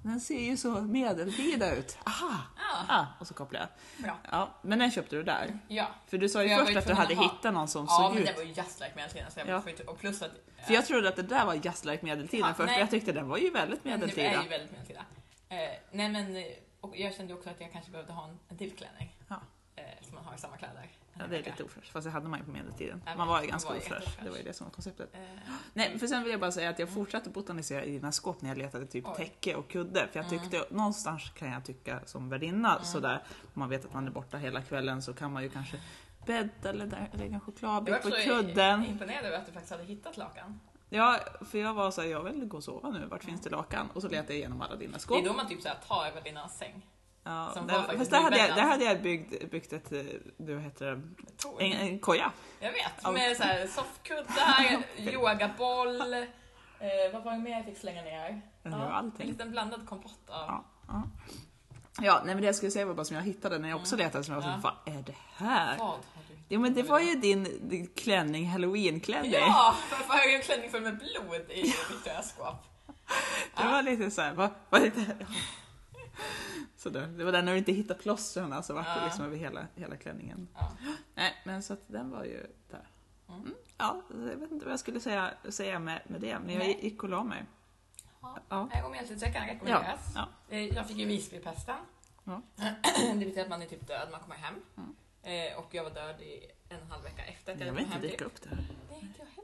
A: Den ser ju så medeltida ut. Aha!
B: Ah,
A: Ah, och så kopplade jag.
B: Bra.
A: Ja, men den köpte du där.
B: ja,
A: För du sa ju
B: Jag var
A: först
B: ju
A: att du hade
B: tvungen att ha-
A: hittat någon som
B: ja
A: såg
B: men
A: ut.
B: det var ju just like medeltiden. Så jag
A: Ja.
B: får inte- Och plus att...
A: För jag trodde att det där var just like medeltiden
B: Ja,
A: först,
B: nej.
A: för jag tyckte den var ju väldigt
B: Men
A: medeltida.
B: Det är ju väldigt medeltida. Eh, nej men, eh, och jag kände ju också att jag kanske behövde ha en, en till klänning.
A: Ja.
B: Eh, eftersom man har samma kläder.
A: Ja, det är lite ofräscht. Fast det hade man ju på medeltiden.
B: Ja,
A: Man var ju
B: man
A: ganska
B: var ju
A: ofräsch.
B: jättefräsch.
A: Det var ju det som var konceptet.
B: Eh,
A: Nej, för sen vill jag bara säga att jag fortsatte botanisera i dina skåp när jag letade typ
B: Oj.
A: täcke och kudde. För jag
B: Mm.
A: tyckte, någonstans kan jag tycka som värdinna
B: Mm.
A: sådär, om man vet att man är borta hela kvällen så kan man ju kanske bädda eller där- lägga en
B: jag var
A: chokladbit på
B: också
A: kudden.
B: imponerad över att du faktiskt hade hittat lakan.
A: Ja, för jag var såhär, jag vill gå och sova nu, vart finns det lakan? Och så letade jag igenom alla dina skåp.
B: Mm. Det är då man typ såhär tar över din säng.
A: Ja,
B: som var
A: där,
B: faktiskt
A: fast där hade, jag,
B: nybäddat.
A: där hade jag byggt, byggt ett, eh, du heter det,
B: Tor.
A: en, en koja.
B: Jag vet,
A: Ja.
B: med såhär soffkuddar, yogaboll, eh, vad var det mer jag fick slänga ner?
A: Den har
B: en
A: allting.
B: liten blandad kompott av...
A: Ja. Ja. Ja, nej men det jag skulle säga var bara som jag hittade när jag också
B: Mm.
A: letade som jag var
B: Ja.
A: så, vad är det här?
B: Vad har du
A: Jo men det var ju din, din klänning, halloweenklänning.
B: Ja! Varför har jag en klänning full med blod i mitt skåp?
A: Det var lite såhär, vad, vad är det här? Ja. Sådär. Det var där när du inte hittade plåstren alltså vart det
B: Ja.
A: liksom över hela, hela klänningen.
B: Ja.
A: Nej men så att den var ju där.
B: Mm.
A: Mm. Ja, jag vet inte vad jag skulle säga, säga med, med det, men jag
B: Nej.
A: gick och la mig.
B: Ja. Eh,
A: Ja.
B: Nej, Och medeltidsveckan rekommenderas.
A: Ja.
B: Eh, Jag fick ju Visbypesten.
A: Ja.
B: Det betyder att man är typ död, man kommer hem.
A: Mm.
B: Eh, Och jag var död i en och en halv vecka efter att
A: Jag
B: jag
A: vill
B: kom
A: inte
B: hem.
A: dyka upp där.
B: typ. Nej, inte jag heller.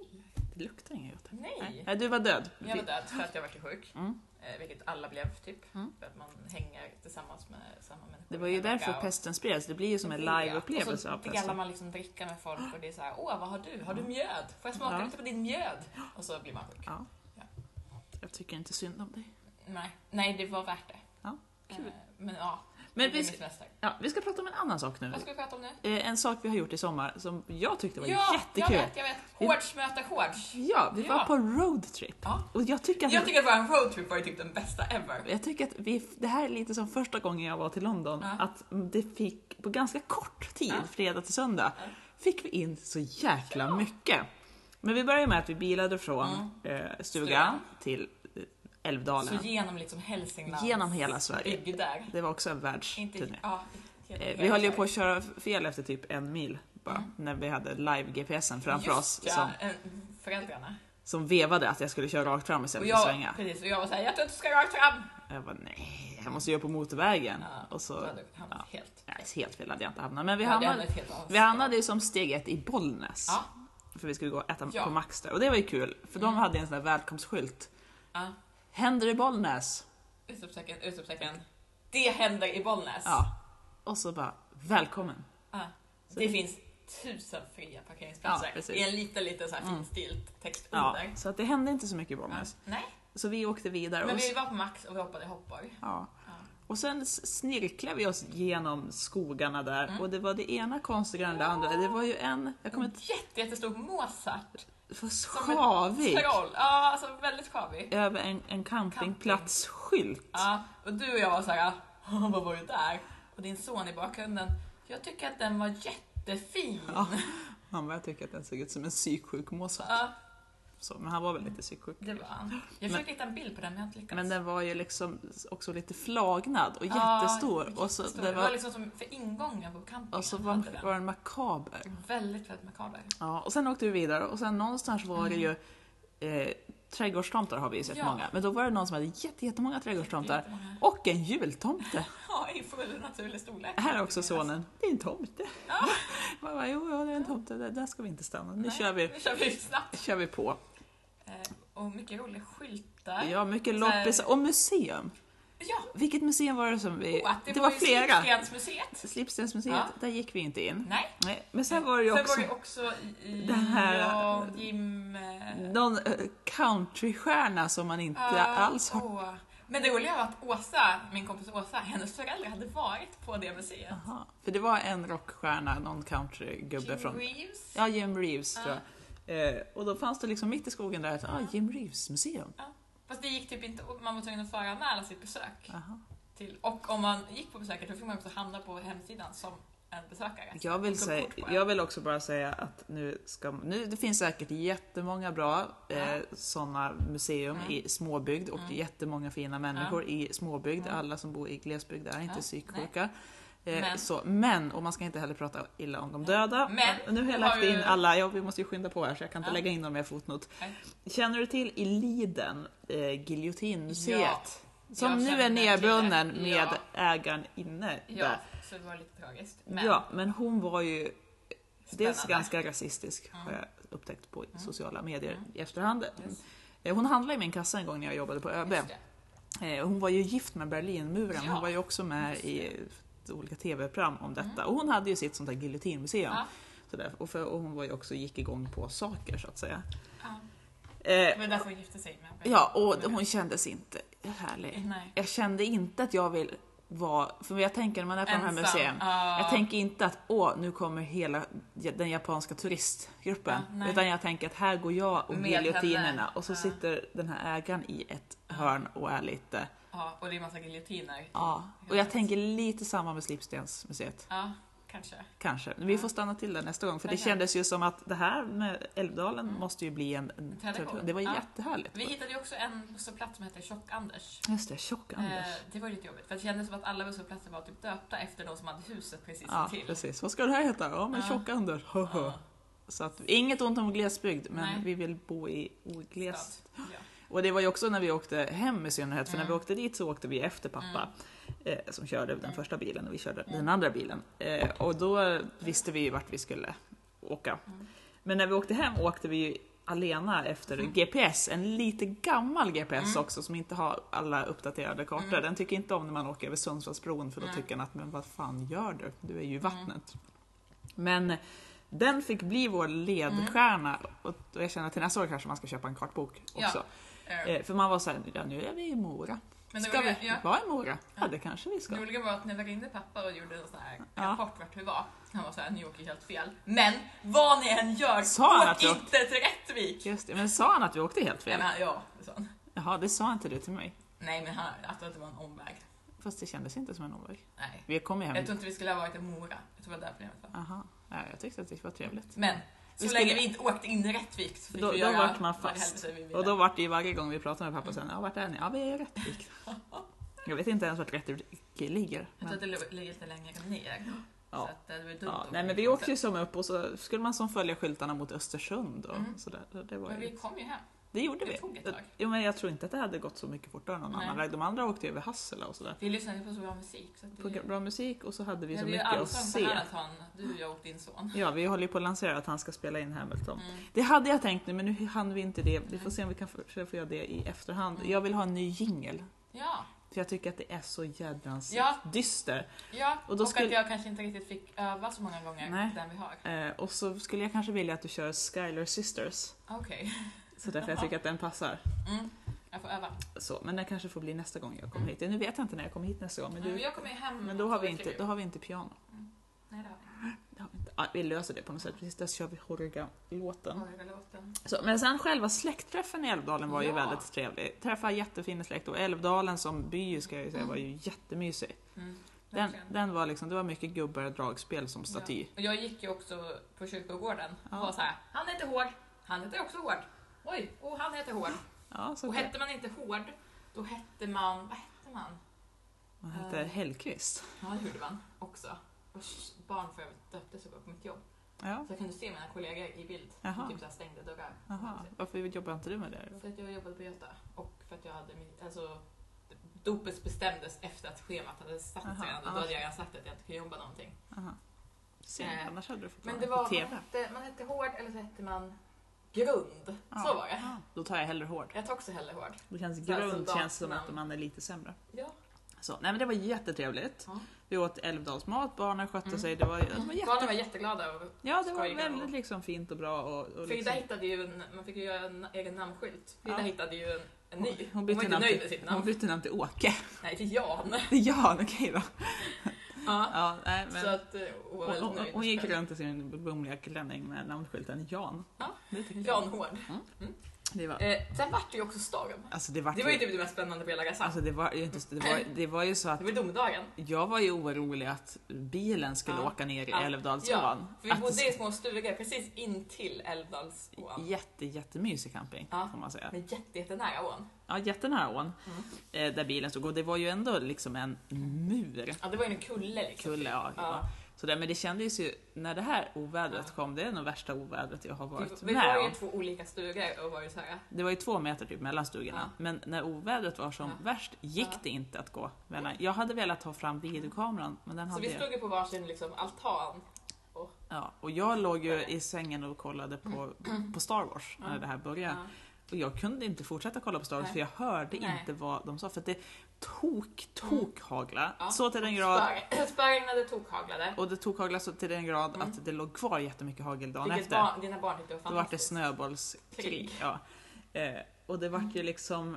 A: Det luktar inget gott.
B: Nej.
A: Nej, du var död.
B: Jag var död för att jag var så sjuk.
A: Mm.
B: Eh, Vilket alla blev typ.
A: Mm.
B: För att man hänger tillsammans med samma människor.
A: Det var ju
B: en vecka
A: därför
B: och-
A: pesten spreds, det blir ju som en
B: Ja. Och
A: live-upplevelse
B: så
A: av
B: delar
A: pesten.
B: man liksom dricka med folk och det är så här, åh vad har du? Har du mjöd? Får jag smaka
A: Ja.
B: lite på din mjöd? Och så blir man sjuk.
A: Ja.
B: Ja.
A: Jag tycker inte synd om dig.
B: Nej, nej det var värt det.
A: Ja, kul.
B: Eh, Men ja,
A: Men
B: det blir
A: vi,
B: mitt nästa.
A: ja, vi ska prata om en annan sak nu.
B: Vad ska vi prata om nu?
A: Eh, En sak vi har gjort i sommar som jag tyckte var
B: jag
A: jättekul.
B: vet, jag vet. Hårds möter hårds.
A: Ja, vi var
B: Ja.
A: på roadtrip.
B: Ja.
A: Och jag tycker att,
B: Jag tycker att vår roadtrip var ju typ den bästa ever.
A: jag tycker att vi, det här är lite som första gången jag var till London,
B: Ja.
A: att det fick, på ganska kort tid,
B: Ja.
A: fredag till söndag,
B: Ja.
A: fick vi in så jäkla mycket. Men vi började med att vi bilade från eh, stugan,
B: Mm. Stugan.
A: till eh,
B: Så
A: Älvdalen.
B: genom liksom Hälsinglands
A: Genom hela Sverige.
B: bygder.
A: Det var också en
B: Inte,
A: världsturné.
B: ja, Mm.
A: Eh, Vi höll ju på att köra fel efter typ en mil bara, när vi hade live-GPSen framför oss
B: ja,
A: som,
B: eh, föräldrarna.
A: som vevade att jag skulle köra rakt fram
B: Och
A: istället för att svänga.
B: jag, precis, och jag var såhär, jag tror att du ska rakt fram.
A: Jag bara, nej, jag måste ju upp på motorvägen.
B: Ja,
A: och så,
B: Så hade vi hamnat helt.
A: nej, helt fel hade jag inte hamnat. Men vi
B: Ja, det
A: hamnade,
B: hade ett helt avstånd.
A: vi hamnade ju som steg ett i Bollnäs.
B: Ja.
A: För vi skulle gå och äta
B: Ja. Mm.
A: på Max där. Och det var ju kul, för de hade en sån där välkomstskylt.
B: Ja,
A: Händer i Bollnäs!
B: utropstecken, utropstecken. Det händer i Bollnäs.
A: Ja. Och så bara, välkommen!
B: Ja. Det finns tusen fria
A: Ja,
B: parkeringsplatser
A: precis.
B: i en liten, liten så här
A: Mm.
B: finstilt text
A: Ja,
B: under.
A: så att det hände inte så mycket i
B: Ja.
A: Bollnäs.
B: Nej,
A: Så vi åkte vidare.
B: men
A: och
B: vi var på Max och vi hoppade hoppborg.
A: Ja.
B: Ja.
A: Och sen s- snirklade vi oss genom skogarna där
B: Mm.
A: och det var det ena konstigare än det andra. Det var ju en, jag kommer inte,
B: Ett jätte, jättestort Mozart.
A: det var
B: Som ett
A: skavig
B: Troll. Ja, alltså väldigt skavig.
A: över en, en campingplatsskylt.
B: Ja, och du och jag var såhär, "Haha, vad var det där? Och din son i bakgrunden, jag tycker att den var jättefin.
A: Ja. Han bara, jag tycker att den såg ut som en psyksjuk Mozart.
B: Ja,
A: Så, men han var väl lite psyksjuk.
B: det var han. Jag försökte hitta en bild på den men jag har inte lyckats.
A: Men den var ju liksom också lite flagnad och
B: Ja,
A: jättestor. och, så,
B: jättestor.
A: det var,
B: liksom som för ingången på campingen.
A: och så var,
B: hade den.
A: var den makaber.
B: Väldigt, väldigt makaber.
A: Ja, och sen åkte vi vidare och sen någonstans var det ju eh, trädgårdstomtar har vi ju sett
B: Mm. Ja.
A: många. Men då var det någon som hade jätte, jättemånga trädgårdstomtar
B: Jättemånga.
A: och en jultomte.
B: Ja, i full naturlig storlek.
A: Här är också sonen. Det är en tomte.
B: Ja.
A: Man bara, jo, jo, det är en tomte. Där, där ska vi inte stanna. Nu
B: Nej,
A: kör vi,
B: Nu kör vi snabbt.
A: kör vi på.
B: Eh, Och mycket roliga skyltar.
A: Ja, mycket
B: Så här-
A: loppisar och museum.
B: Ja,
A: Vilket museum var det som vi...
B: och att det,
A: Eh, det var
B: ju
A: flera.
B: Slipstensmuseet.
A: Slipstensmuseet,
B: Ja.
A: där gick vi inte in.
B: Nej.
A: Nej, Men sen var det ju
B: Sen
A: också
B: var det också i,
A: det här-
B: ja, Jim... eh,
A: någon eh, countrystjärna som man inte
B: Ja,
A: alls har...
B: åh. Men det roliga var att Åsa, min kompis Åsa, hennes föräldrar hade varit på det museet.
A: Aha. För det var en rockstjärna, någon countrygubbe
B: Jim
A: från...
B: Reeves.
A: Ja, Jim Reeves
B: Ja.
A: tror jag. Eh, och då fanns det liksom mitt i skogen där ett ah, Jim Reeves museum.
B: Fast det gick typ inte, man var tvungen att föranmäla sitt besök.
A: Aha.
B: Till. Och om man gick på besöket då fick man också hamna på hemsidan som en besökare.
A: Jag vill,
B: Så
A: säga,
B: kort på en.
A: jag vill också bara säga att nu ska, nu, det finns säkert jättemånga bra eh,
B: Ja.
A: sådana museum
B: Mm.
A: i småbygd och
B: Mm.
A: jättemånga fina människor i småbygd.
B: Mm.
A: Alla som bor i glesbygd är inte
B: Ja,
A: psyksjuka. Eh,
B: Men-
A: Så, men, och man ska inte heller prata illa om de döda.
B: Men,
A: och nu har jag
B: har
A: lagt in
B: du-
A: alla, ja, vi måste ju skynda på här så jag kan inte
B: Ja.
A: lägga in någon mer fotnot.
B: Nej.
A: Känner du till i Liden, eh, giljotinmuseet?
B: Ja,
A: Som
B: jag
A: nu
B: känner
A: är
B: till det.
A: nerbunden med
B: Ja.
A: ägaren inne där.
B: Ja, så det var lite tragiskt. Men
A: Ja, men hon var ju dels
B: Spännande.
A: ganska rasistisk, har
B: Mm.
A: jag upptäckt på
B: Mm.
A: sociala medier
B: Mm.
A: i efterhand.
B: Yes.
A: Eh, Hon handlade i min kassa en gång när jag jobbade på ÖB.
B: just det.
A: Eh, Hon var ju gift med Berlinmuren,
B: Ja.
A: hon var ju också med
B: Just Mm.
A: i olika TV-program om detta. Och hon hade ju sitt sånt där giljotinmuseum.
B: Ja.
A: Sådär. Och, för, och hon var ju också, gick igång på saker så att säga.
B: Ja.
A: Eh,
B: Det var därför hon gifte sig med
A: Ja, och hon kändes inte härlig.
B: Nej.
A: Jag kände inte att jag vill vara, för jag tänker när man är på de här museum,
B: Ja.
A: jag tänker inte att åh, nu kommer hela den japanska turistgruppen.
B: Ja, nej.
A: utan jag tänker att här går jag och
B: Med
A: giljotinerna
B: henne.
A: och så
B: Ja.
A: sitter den här ägaren i ett hörn och är lite...
B: Ja, och det är massa giljotiner.
A: Ja. Och jag tänker lite samma med Slipstensmuseet,
B: Ja, kanske.
A: kanske. Men vi får stanna till där nästa gång, för det
B: Verkligen.
A: kändes ju som att det här med Älvdalen
B: Mm.
A: måste ju bli en... en
B: tradition.
A: det var
B: Ja.
A: jättehärligt.
B: Vi hittade ju också en busshållplats som hette Tjock-Anders.
A: Just det, Tjock-Anders.
B: Eh, det var ju lite jobbigt, för det kändes som att alla busshållplatser var typ döpta efter de som hade huset precis
A: Ja,
B: intill.
A: precis. Vad ska det här heta? Ja, men
B: Ja.
A: Tjock-Anders.
B: Ja,
A: Så att, inget ont om glesbygd, men
B: Nej.
A: vi vill bo i ogles.
B: stad. Ja.
A: Och det var ju också när vi åkte hem i synnerhet, för när
B: Mm.
A: vi åkte dit så åkte vi efter pappa eh, som körde den
B: Mm.
A: första bilen och vi körde
B: Mm.
A: den andra bilen. Eh, och då visste vi ju vart vi skulle åka.
B: Mm.
A: Men när vi åkte hem åkte vi ju alena efter
B: Mm.
A: GPS, en lite gammal GPS
B: Mm.
A: också som inte har alla uppdaterade kartor.
B: Mm.
A: Den tycker inte om när man åker över Sundsvallsbron för då
B: Nej. Mm.
A: tycker den att men vad fan gör du? Du är ju i vattnet. Men den fick bli vår ledstjärna och och jag känner att till nästa år kanske man ska köpa en kartbok
B: Mm. Ja.
A: också.
B: Eh,
A: Eh, För man var såhär, ja, nu är vi i Mora.
B: Men det
A: Ska vi
B: roliga, ja,
A: vara i Mora? Ja,
B: Ja.
A: det kanske vi ska.
B: det roliga var att när vi ringde pappa och gjorde en sån här
A: Ja.
B: rapport vart vi var, han var såhär, ni åker helt fel. Men vad ni än gör,
A: Sa han att
B: åk
A: vi
B: inte till Rättvik!
A: Just det, men sa han att vi åkte helt
B: Nej,
A: fel?
B: men han, ja, det sa han.
A: Jaha, det sa inte du till mig.
B: Nej, men han, jag tror att det var en omväg.
A: Fast det kändes inte som en omväg.
B: Nej.
A: Vi kom ju
B: Jag
A: hem.
B: tror inte vi skulle ha varit i Mora. Jag tror det var där problemet var.
A: Aha. Ja, jag tyckte att det var trevligt.
B: Men så
A: Vi
B: länge
A: skulle-
B: vi inte åkte in i Rättvik så fick
A: Då-
B: vi
A: då
B: göra
A: vart man
B: vad i
A: fast.
B: helvete vi ville.
A: Och då var det ju varje gång vi pratade med pappa sen, ja vart är ni? Ja, vi är i Rättvik. Jag vet inte ens vart Rättvik ligger.
B: Jag tror att
A: Men,
B: det låg- ligger lite längre ner.
A: Ja.
B: Så att eh, det var ju dumt
A: ja,
B: att
A: nej, men
B: åka
A: vi
B: på
A: åkte ju
B: sätt.
A: som upp och så skulle man som följa skyltarna mot Östersund och
B: Mm.
A: sådär. Det- Det, var
B: Men vi
A: ju,
B: kom ju hem.
A: det gjorde
B: det
A: vi.
B: tog ett tag.
A: Jo, men jag tror inte att det hade gått så mycket fortare någon
B: Nej.
A: annan väg. De andra åkte ju över Hassela och sådär.
B: Vi lyssnade på så bra musik. Så att det,
A: på bra musik och så hade vi
B: Ja,
A: så
B: det alltså. är ju
A: mycket att
B: allsång på
A: se.
B: Hamilton, du, jag och din son.
A: Ja, vi håller ju på att lansera att han ska spela in Hamilton.
B: Mm.
A: Det hade jag tänkt nu, men nu hann vi inte det. Vi får
B: Nej.
A: se om vi kan försöka få göra det i efterhand.
B: Mm.
A: Jag vill ha en ny jingel.
B: Ja,
A: För jag tycker att det är så jädrans
B: Ja.
A: dyster.
B: ja.
A: Och
B: Och,
A: då skulle-
B: att jag kanske inte riktigt fick öva så många gånger
A: Nej.
B: den vi har.
A: Eh, och så skulle jag kanske vilja att du kör Skylar Sisters.
B: Okej,
A: Så därför jag tycker att den passar.
B: mm. jag får öva.
A: Så, men den kanske får bli nästa gång jag kommer
B: Mm.
A: hit. Nu vet jag inte när jag kommer hit nästa gång. Men,
B: Men,
A: du,
B: jag kommer ju hem.
A: men då, har vi
B: om två
A: inte,
B: veckor.
A: då har vi inte piano.
B: Nej, det har
A: Det har vi, inte. Ah, vi löser det på något sätt. Precis, där kör vi Horga-låten.
B: vi inte. Orgelåten.
A: Så, men sen själva släktträffen i Älvdalen var ju
B: Ja.
A: väldigt trevlig. Träffade jättefina släkt och Älvdalen som by ska jag ju säga var ju jättemysig.
B: Mm.
A: Den,
B: verkligen.
A: den var liksom, det var mycket gubbar och dragspel som staty.
B: Ja. Och jag gick ju också på kyrkogården
A: Ja.
B: och var såhär, han heter Hård, han heter också Hård. Oj, och han heter Hård.
A: Ja, så
B: Och
A: det,
B: hette man inte Hård, då hette man, vad hette man?
A: man hette
B: eh,
A: Hellqvist.
B: Ja, det gjorde man också. Vars barn för övrigt döptes och var på mitt jobb.
A: Ja,
B: Så jag kunde se mina kollegor i bild,
A: Jaha.
B: som typ så här stängde dörrar. Typ.
A: aha. Varför jobbar inte du med det? då?
B: För att jag jobbade på Göta och för att jag hade min, alltså dopet bestämdes efter att schemat hade satt sig
A: Jaha,
B: redan. Då
A: annars-
B: hade jag redan sagt att jag inte kunde jobba någonting.
A: Aha. Synd,
B: Eh,
A: annars hade du fått
B: Men
A: vara
B: det
A: med
B: var,
A: på
B: man
A: TV.
B: hette, man hette Hård eller så hette man Grund.
A: Ja.
B: Så var det.
A: Ja, Då tar jag hellre hård.
B: Jag tar också hellre hård.
A: Det känns
B: Så här
A: grund, känns som
B: soldatnamn.
A: att man är lite sämre.
B: Ja,
A: Så, nej men det var jättetrevligt.
B: Ja.
A: Vi åt Älvdalsmat, barnen skötte
B: Mm.
A: sig. Det var, det var jätte...
B: Barnen var jätteglada. Och
A: Ja, det var
B: skojiga och-
A: väldigt liksom fint och bra. Och, och
B: Frida
A: liksom,
B: hittade ju en, man fick ju göra en egen namnskylt. Frida
A: Ja.
B: hittade ju en, en ny. Hon,
A: Hon
B: var
A: bytte
B: inte
A: namn
B: nöjd
A: till-
B: med sitt
A: hon
B: namn.
A: bytte namn till Åke.
B: Nej, till Jan.
A: ja, okej då.
B: Ja.
A: Ja, nej, men...
B: Så att eh, hon var
A: Hon,
B: väldigt
A: hon,
B: nöjd.
A: hon gick runt i sin blommiga klänning med namnskylten Jan.
B: Ja,
A: det tyckte jag.
B: Jan Hård.
A: Det var,
B: Eh, sen vart det ju också storm.
A: alltså det var,
B: Det var ju typ det mest spännande på hela resan.
A: alltså det var ju inte, det var, det var ju så att
B: det var domedagen.
A: jag var ju orolig att bilen skulle
B: Ja.
A: åka ner i
B: Ja.
A: Älvdalsån.
B: För vi
A: Att det
B: bodde i små stugor precis intill Älvdalsån.
A: Jätte, jättemysig camping
B: Ja.
A: får man säga.
B: Men jätte, jättenära ån.
A: Ja, jättenära ån
B: Mm.
A: eh, där bilen stod och det var ju ändå liksom en mur,
B: Ja, det var ju en kulle liksom.
A: kulle. Ja,
B: Ja.
A: Så där, men det kändes ju, när det här ovädret
B: Ja.
A: kom, det är nog värsta ovädret jag har varit
B: Vi, vi
A: med
B: var ju
A: om.
B: i två olika stugor och var ju såhär,
A: Det var ju två meter typ mellan stugorna,
B: Ja.
A: men när ovädret var som
B: Ja.
A: värst gick
B: Ja.
A: det inte att gå. Vänner. Jag hade velat ha fram videokameran, men den
B: så
A: hade
B: vi
A: jag.
B: stod ju på varsin liksom, altan.
A: Ja, och jag låg ju i sängen och kollade på, på Star Wars när
B: Ja.
A: det här började. Och jag kunde inte fortsätta kolla på Star Wars
B: Nej.
A: för jag hörde
B: Nej. Mm.
A: inte vad de sa, för att det tok, tok hagla
B: Ja.
A: Så till den grad
B: Spöregn- Spöregnade, tokhaglade.
A: och det tog hagla så till den grad
B: Mm.
A: att det låg kvar jättemycket hagel dagen
B: Vilket
A: efter.
B: barn, dina barn tyckte var
A: Då vart det
B: fantastiskt.
A: snöbollskrig.
B: Krig.
A: Ja. Eh, och det vart ju liksom...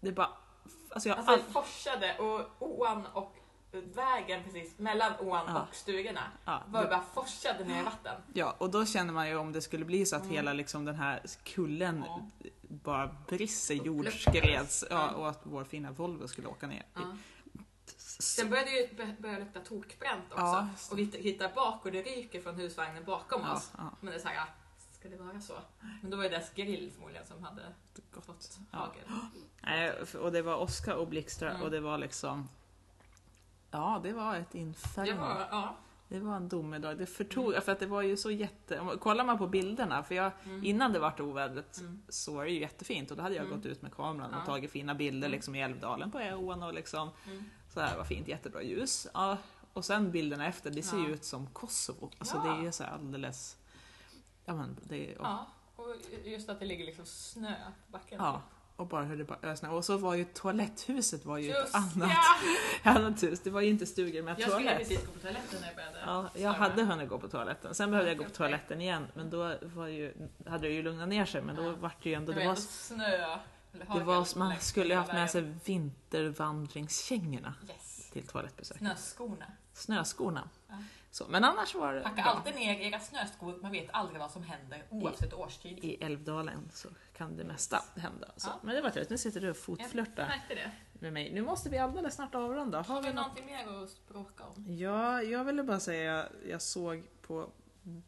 A: Det bara... Alltså jag, har
B: Alltså
A: all,
B: det forsade och ån och vägen precis mellan ån
A: Ja.
B: och stugorna
A: ja,
B: var ju
A: det-
B: bara forsade ner i vatten.
A: Ja, och då känner man ju om det skulle bli så att
B: Mm.
A: hela liksom, den här kullen
B: Ja.
A: bara brister,
B: Uppluckras.
A: jordskreds ja,
B: Ja.
A: och att vår fina Volvo skulle åka ner.
B: Ja. Sen Mm. började ju bör- börja lukta tokbränt också.
A: Ja,
B: Och vi hittar bak och det ryker från husvagnen bakom
A: ja,
B: oss.
A: ja,
B: Men det är så här, ja, ska det vara så? Men då var det deras grill förmodligen som hade
A: gott.
B: fått
A: Ja.
B: hagel.
A: Nej, och det var Oskar och Blixtra
B: Mm.
A: och det var liksom... Ja, det var ett inferno.
B: Det var, ja.
A: Det var en domedag. Det förtog, för att det var ju så jätte... om- Kollar man på bilderna, för jag, innan det vart ovädret
B: Mm.
A: så var det ju jättefint och då hade jag
B: Mm.
A: gått ut med kameran och
B: Ja.
A: tagit fina bilder
B: Mm.
A: liksom i Älvdalen på ån och liksom
B: Mm.
A: så här var fint, jättebra ljus. Ja, och sen bilderna efter, det ser ju
B: Ja.
A: ut som Kosovo. Alltså
B: Ja.
A: det är ju så här alldeles... Ja, men det, och, ja.
B: ja. Och just att det ligger liksom snö på backen.
A: och bara hur det bara ösnade. Och så var ju toaletthuset var ju ett
B: Just
A: annat,
B: ja!
A: annat hus. Det var ju inte stugor med
B: Jag skulle
A: toalett.
B: precis gå på toaletten när jag började.
A: Ja, jag
B: snöa.
A: hade hunnit gå på toaletten. Sen behövde jag gå på toaletten igen, men då var ju, hade det ju lugnat ner sig. Men då
B: Ja.
A: var det ju ändå...
B: Det var
A: Det var,
B: ändå snö. eller
A: det
B: hagel
A: var, man
B: längs
A: skulle ju
B: hela
A: haft med sig
B: vägen.
A: vintervandringskängorna
B: Yes.
A: till toalettbesök.
B: Snöskorna.
A: Snöskorna.
B: Ja.
A: Så, men annars var det
B: Packa
A: bra.
B: alltid ner era snöskor, man vet aldrig vad som händer oavsett årstid.
A: I Älvdalen så kan det mesta hända. Så.
B: Ja.
A: Men det var trevligt. Nu sitter du och fotflörtar
B: Märkte det?
A: med mig. Nu måste vi alldeles snart avrunda. Har vi något?
B: någonting mer att språka om?
A: Ja, jag ville bara säga, jag såg på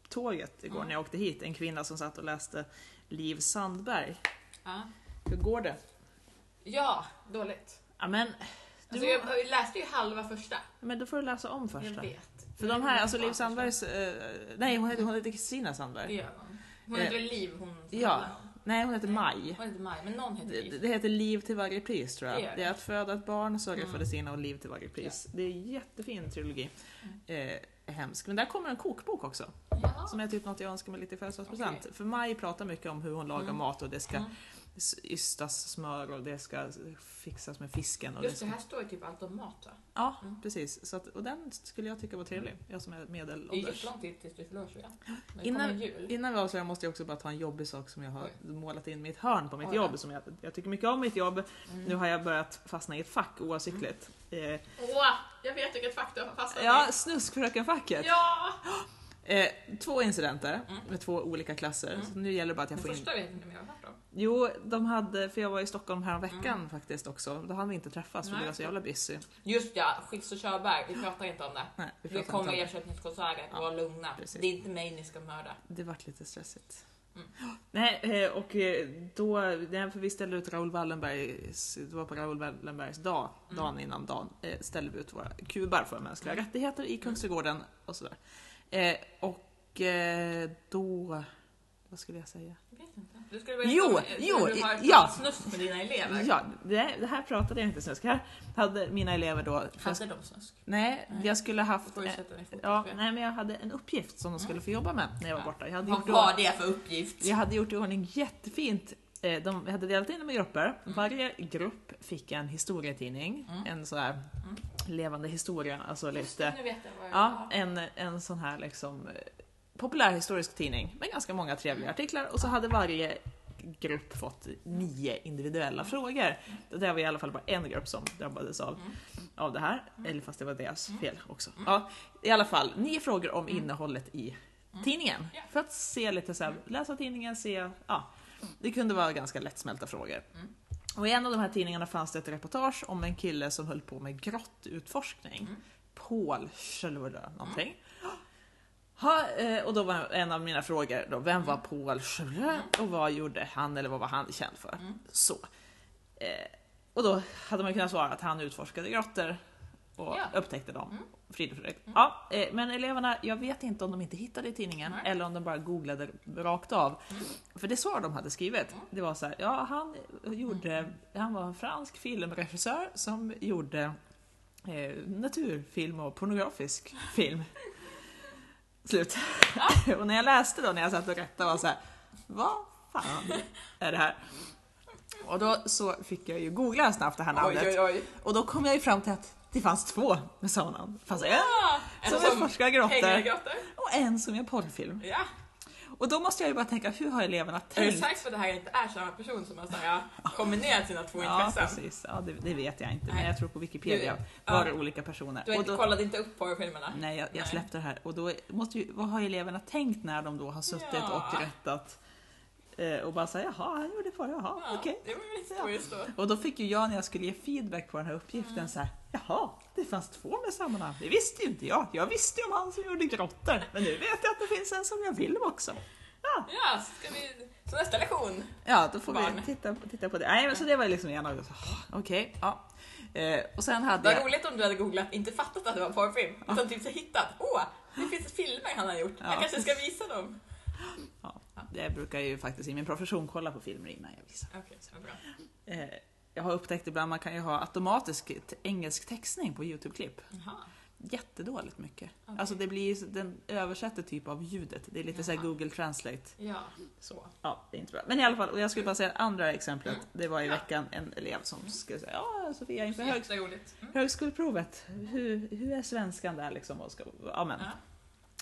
A: tåget igår
B: Mm.
A: när jag åkte hit en kvinna som satt och läste Liv Sandberg.
B: Ja,
A: Hur går det?
B: ja dåligt.
A: Ja, men, du,
B: Alltså, jag läste ju halva första.
A: men då får du läsa om första.
B: Jag vet.
A: För de här, alltså Liv Sandbergs... Eh, nej, hon heter, hon heter Kristina
B: Det
A: Sandberg.
B: gör hon. Hon heter väl Liv hon som
A: Ja.
B: handlar om.
A: Nej, hon heter
B: Nej.
A: Maj.
B: Hon heter Maj, men någon heter
A: Det,
B: Liv.
A: det heter Liv till varje pris tror
B: Det gör
A: jag. Det är
B: det.
A: att föda ett barn, sörja
B: Mm.
A: för det sina och liv till varje pris. Det är en jättefin trilogi.
B: Mm.
A: Eh, hemsk. Men där kommer en kokbok också.
B: Ja.
A: Som är typ något jag önskar mig lite i födelsedagspresent. För Maj pratar mycket om hur hon lagar
B: Mm.
A: mat och det ska
B: Mm.
A: s- ystas smör och det ska fixas med fisken. Och
B: Just
A: det
B: det,
A: ska...
B: här står ju typ allt om mat va?
A: Ja,
B: Mm.
A: precis. Så att, och den skulle jag tycka var trevlig. Jag som är
B: Det är ju
A: medelålders.
B: jättelång tid tills du förlorar sig. När det
A: Innan-
B: kommer jul.
A: Innan vi avslutar måste jag också bara ta en jobbig sak som jag har målat in i mitt hörn på mitt
B: Oj då.
A: jobb. Som jag, jag tycker mycket om mitt jobb. Nu
B: Mm.
A: har jag börjat fastna i ett fack oavsiktligt. Eh,
B: Åh, jag vet vilket faktum har fastnat
A: ja,
B: i.
A: snuskfröken-facket.
B: Ja!
A: Eh, två incidenter
B: Mm.
A: med två olika klasser.
B: Mm.
A: Så nu gäller det bara att jag
B: Den
A: får in...
B: första vet jag inte om jag har hört om.
A: Jo, de hade, för jag var i Stockholm häromveckan
B: Mm.
A: faktiskt också. Då hann vi inte träffas för
B: Nej.
A: vi var så jävla busy.
B: Just ja, Schildt och Körberg, vi pratar inte om det.
A: Nej, vi
B: Det
A: pratade inte
B: kommer
A: om det.
B: ersättningskonserter,
A: Ja,
B: var lugna.
A: precis.
B: Det är inte mig ni ska mörda.
A: Det vart lite stressigt.
B: Mm.
A: Nej, eh, och eh, då, nej, för vi ställde ut Raoul Wallenbergs, det var på Raoul Wallenbergs dag,
B: Mm.
A: dagen innan dagen, eh, ställde vi ut våra kubar för mänskliga rättigheter i Kungsträdgården och sådär. Eh, och eh, då, vad skulle jag säga?
B: Jag vet inte. Du skulle berätta
A: Jo,
B: om-
A: jo,
B: du har
A: ja.
B: snusk med dina elever.
A: Ja, det, det här pratade jag inte snusk. Här hade mina elever då...
B: Hade de snusk?
A: Nej,
B: Nej.
A: jag skulle
B: Då
A: haft...
B: får du
A: eh,
B: sätta dig i fokus
A: Ja,
B: för det.
A: nej, men jag hade en uppgift som de skulle få jobba med när jag var
B: Ja.
A: borta. Jag hade
B: Vad
A: gjort
B: var det för uppgift?
A: Jag hade gjort i ordning jättefint eh, de hade delat in dem i grupper. Varje grupp fick en historietidning,
B: Mm.
A: en så här
B: Mm.
A: levande historia, alltså
C: Just
A: lite
C: det, nu vet jag vad
A: Ja,
C: ja.
A: en, en sån här liksom eh, populärhistorisk tidning med ganska många
B: Mm.
A: trevliga artiklar och så hade varje grupp fått nio individuella frågor. Det där var i alla fall bara en grupp som drabbades av,
B: Mm.
A: av det här,
B: Mm.
A: eller fast det var deras
B: Mm.
A: fel också.
B: Mm.
A: Ja, I alla fall, nio frågor om
B: Mm.
A: innehållet i
B: Mm.
A: tidningen.
B: Ja.
A: För att se lite så här, läsa tidningen, se, ja. Det kunde vara ganska lättsmälta frågor.
B: Mm.
A: Och i en av de här tidningarna fanns det ett reportage om en kille som höll på med grottutforskning.
B: Mm.
A: Paul Schluder någonting. Ha, eh, och då var en av mina frågor då, vem
B: Mm.
A: var Paul Schluder och vad gjorde han eller vad var han känd för?
B: Mm.
A: Så. Eh, och då hade man kunnat svara att han utforskade grottor och
B: Ja.
A: upptäckte dem.
B: Mm.
A: Frid och fröjd. Ja, eh, men eleverna, jag vet inte om de inte hittade i tidningen
B: Nej.
A: eller om de bara googlade rakt av.
B: Mm.
A: För det svar de hade skrivit,
B: Mm.
A: det var så här, ja han gjorde, han var en fransk filmregissör som gjorde eh, naturfilm och pornografisk film. Slut. och när jag läste då, när jag satt och rättade var så här, vad fan är det här? Och då så fick jag ju googla snabbt det här namnet.
B: oj.
A: Och då kom jag ju fram till att det fanns två med samma namn. Det fanns en
B: Ah, en
A: som,
B: som
A: utforskar
B: hänger i
A: grottor
B: grottor.
A: och en som gör porrfilm.
B: Ja.
A: Och då måste jag ju bara tänka, hur har eleverna
B: Är du
A: tänkt?
B: säker på att det här inte är samma person som har så här, kombinerat sina två
A: Ja,
B: intressen?
A: precis. Ja, det, det vet jag inte, men
B: Nej.
A: jag tror på Wikipedia
B: Du-
A: var det
B: ja.
A: olika personer.
B: Du har
A: Och
B: inte,
A: då,
B: kollade inte upp porrfilmerna?
A: nej, jag, jag
B: Nej.
A: släppte det här. Och då måste ju, vad har eleverna tänkt när de då har suttit
B: Ja.
A: och rättat? Eh, och bara säga, jaha, han gjorde porr, jaha,
B: Ja,
A: okej.
B: Det var ju lite historiskt då.
A: Och då fick ju jag när jag skulle ge feedback på den här uppgiften så här, jaha, det fanns två med samma namn. Det visste ju inte jag. Jag visste ju om han som gjorde grottor, men nu vet jag att det finns en som jag vill också.
B: Ja, så ska vi... Så nästa lektion.
A: Ja, då får vi
B: Barn.
A: titta, titta på det. Nej, men så det var ju liksom en av dem. Okej, ja. Eh, och sen hade
B: Vad
A: jag...
B: roligt om du hade googlat, inte fattat att det var porrfilm, utan typ så hittat. Åh, det finns filmer han har gjort.
A: Ja.
B: Jag kanske ska visa dem.
A: Ja, jag brukar ju faktiskt i min profession kolla på filmer innan jag visar.
B: Okej, så bra.
A: Eh, jag har upptäckt ibland man kan ju ha automatisk t- engelsk textning på Youtube-klipp.
B: Jaha.
A: Jättedåligt mycket.
B: Okej.
A: Alltså det blir ju, den översätter typ av ljudet. Det är lite såhär
B: Jaha.
A: Google Translate.
B: Ja.
A: Så. Ja, det är inte bra. Men i alla fall, och jag skulle bara säga det andra exemplet. Det var i veckan en elev som skulle säga ja Sofia inför hög,
B: Jätteroligt. Mm.
A: högskoleprovet, hur, hur är svenskan där liksom? Och ska, ja, men.
B: Ja.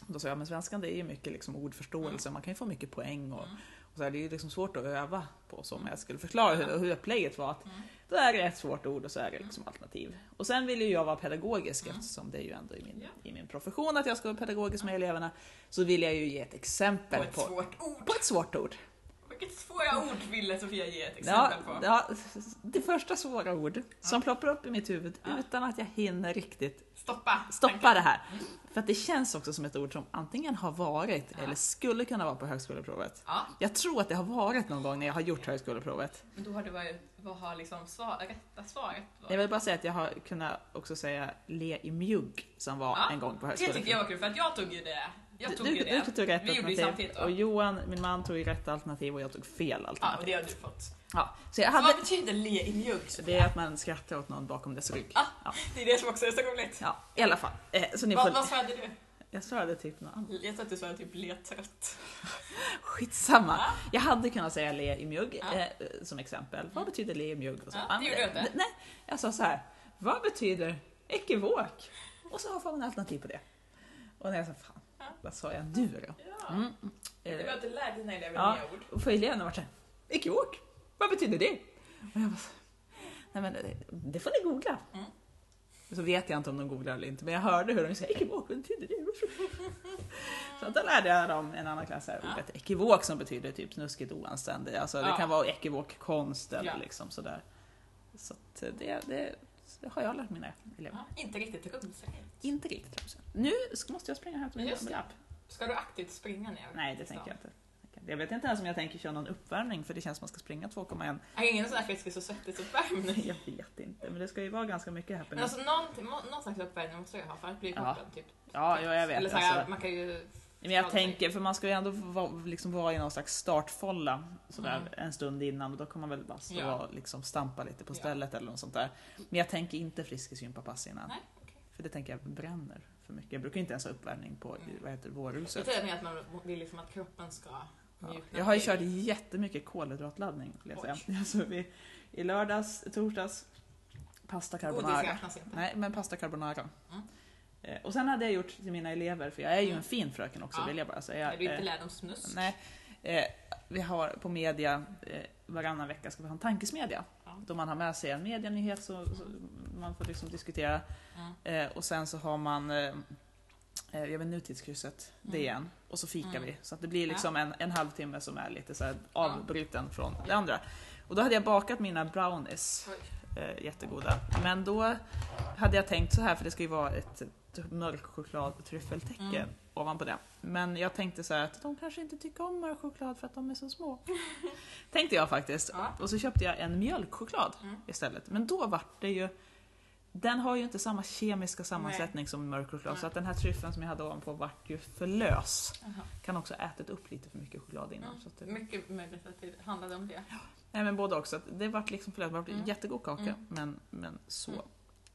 A: Då sa jag, men svenskan det är ju mycket liksom ordförståelse, man kan ju få mycket poäng och,
B: Mm.
A: och så här, det är ju liksom svårt att öva på. Så om jag skulle förklara hur, hur upplägget var, att
B: Mm.
A: då är det ett svårt ord och så är det liksom alternativ. Och sen vill ju jag vara pedagogisk
B: Mm.
A: eftersom det är ju ändå i min,
B: Ja.
A: i min profession att jag ska vara pedagogisk med eleverna. Så vill jag ju ge ett exempel
B: Och
A: på
B: ett svårt ord.
A: på ett svårt ord.
B: Vilket svåra ord ville Sofia ge ett
A: Ja,
B: exempel på?
A: ja, det första svåra ord som ploppar upp i mitt huvud
B: Ja.
A: utan att jag hinner riktigt
B: Stoppa.
A: stoppa det här. För att det känns också som ett ord som antingen har varit
B: Ja.
A: eller skulle kunna vara på högskoleprovet.
B: Ja,
A: Jag tror att det har varit någon gång när jag har gjort högskoleprovet.
B: men då har du varit, vad har liksom svar, rätta svaret
A: Jag
B: varit?
A: vill bara säga att jag har kunnat också säga le i mjugg som var
B: Ja,
A: en gång på
B: Det tyckte jag
A: högskoleprovet.
B: var kul för att jag tog ju det. Jag tog
A: Du,
B: ju
A: du,
B: det.
A: du tog rätt
B: Vi gjorde ju
A: alternativ
B: samtidigt
A: och
B: va?
A: Johan, min man, tog ju rätt alternativ och jag tog fel
B: Ja, och
A: alternativ.
B: det har du fått.
A: Ja, så jag
B: Så
A: hade...
B: vad betyder le i mjugg? Sofia?
A: Det är att man skrattar åt någon bakom dess rygg.
B: Ah. Det är det som också är så roligt.
A: Ja, i alla fall. Eh, så ni
B: Vad,
A: får...
B: vad svarade du?
A: Jag svarade typ något annat.
B: Jag tror att du svarade typ letrött.
A: Skitsamma.
B: Ja.
A: Jag hade kunnat säga le i mjugg
B: Ja. Mm.
A: eh, som exempel. Vad betyder le i mjugg? Och så.
B: Ja, det
A: Ah, men
B: gjorde du inte.
A: Nej, jag sa så här. Vad betyder ekivok? Och så får man alternativ på det. Och när jag sa fan,
B: Ja.
A: vad sa jag nu då?
B: Ja.
A: Mm.
B: Det var
A: Eh,
B: att du lärde dina elever
A: Ja.
B: nya ord.
A: och för eleverna vart såhär, ekivok, vad betyder det? Och jag bara, så, nej men det- det får ni googla.
B: Mm.
A: Så vet jag inte om de googlar eller inte, men jag hörde hur de sa ekivok, vad betyder det? Så då lärde jag dem en annan klass här
B: Ja.
A: ordet ekivok som betyder typ snuskigt oanständig. Alltså det
B: Ja.
A: kan vara ekivok konst eller
B: Ja.
A: liksom sådär. Så att det, det, det har jag lärt mina elever.
B: Ja. Inte riktigt rumsrent.
A: Inte riktigt tror jag. Nu ska- måste jag springa och hämta min
B: Just det.
A: lapp.
B: Ska du aktivt springa ner?
A: Nej, det tänker jag inte. Jag vet inte ens om jag tänker köra någon uppvärmning för det känns som man ska springa 2,1.
B: Är ingen sån här fisk är så svettig så uppvärmning?
A: Jag vet inte, men det ska ju vara ganska mycket
B: Men
A: happening.
B: alltså någon, någon slags uppvärmning måste jag ha för att bli
A: Ja.
B: kroppen typ.
A: ja, ja, jag vet.
B: Eller så här,
A: alltså,
B: man kan ju...
A: men jag
B: skada sig.
A: tänker, för man ska ju ändå vara, liksom vara i någon slags startfolla sådär,
B: Mm.
A: en stund innan och då kan man väl bara stå
B: Ja.
A: och liksom stampa lite på
B: Ja.
A: stället eller något sånt där. Men jag tänker inte friskisgympapass innan.
B: Nej, okej.
A: För det tänker jag bränner för mycket. Jag brukar inte ens ha uppvärmning på
B: Mm.
A: vad heter det,
B: Jag
A: vårhuset.
B: tror mer att man vill liksom att kroppen ska
A: Ja.
B: Mjukna
A: Jag har ju
B: till.
A: kört jättemycket kolhydratladdning. skulle Jag säga. Alltså, vi, I lördags, torsdags, pasta
B: Godis
A: carbonara.
B: räknas inte.
A: Nej, men pasta carbonara.
B: Mm.
A: Eh, Och sen hade jag gjort till mina elever, för jag är ju
B: Mm.
A: en fin fröken också
B: Ja.
A: vill jag bara säga.
B: Är du inte
A: Eh,
B: lärdomsnusk?
A: Nej. Eh, Vi har på media, eh, varannan vecka ska vi ha en tankesmedja.
B: Ja.
A: Då man har med sig en medianyhet så, så man får liksom diskutera.
B: Mm.
A: Eh, Och sen så har man eh, eh, jag vet, nutidskrysset,
B: Mm.
A: DN, och så fikar
B: Mm.
A: vi. Så att det blir liksom en, en halvtimme som är lite så här
B: Ja.
A: avbruten från det andra. Och då hade jag bakat mina brownies,
B: Oj.
A: eh, jättegoda. Men då hade jag tänkt så här, för det ska ju vara ett ett mörk choklad tryffeltäcke
B: Mm.
A: ovanpå det. Men jag tänkte så här att de kanske inte tycker om mörk choklad för att de är så små. tänkte jag faktiskt.
B: Ja.
A: Och så köpte jag en mjölkchoklad
B: Mm.
A: istället. Men då vart det ju... Den har ju inte samma kemiska sammansättning som mörk choklad
B: Nej.
A: så att den här tryffeln som jag hade ovanpå vart ju för lös.
B: Jaha.
A: Kan också ha ätit upp lite för mycket choklad innan. Så att det,
B: Mm. Mycket möjligt att det handlade om det.
A: Nej men både också, att det vart liksom för löst. Det vart
B: Mm.
A: jättegod kaka
B: Mm.
A: men, men så.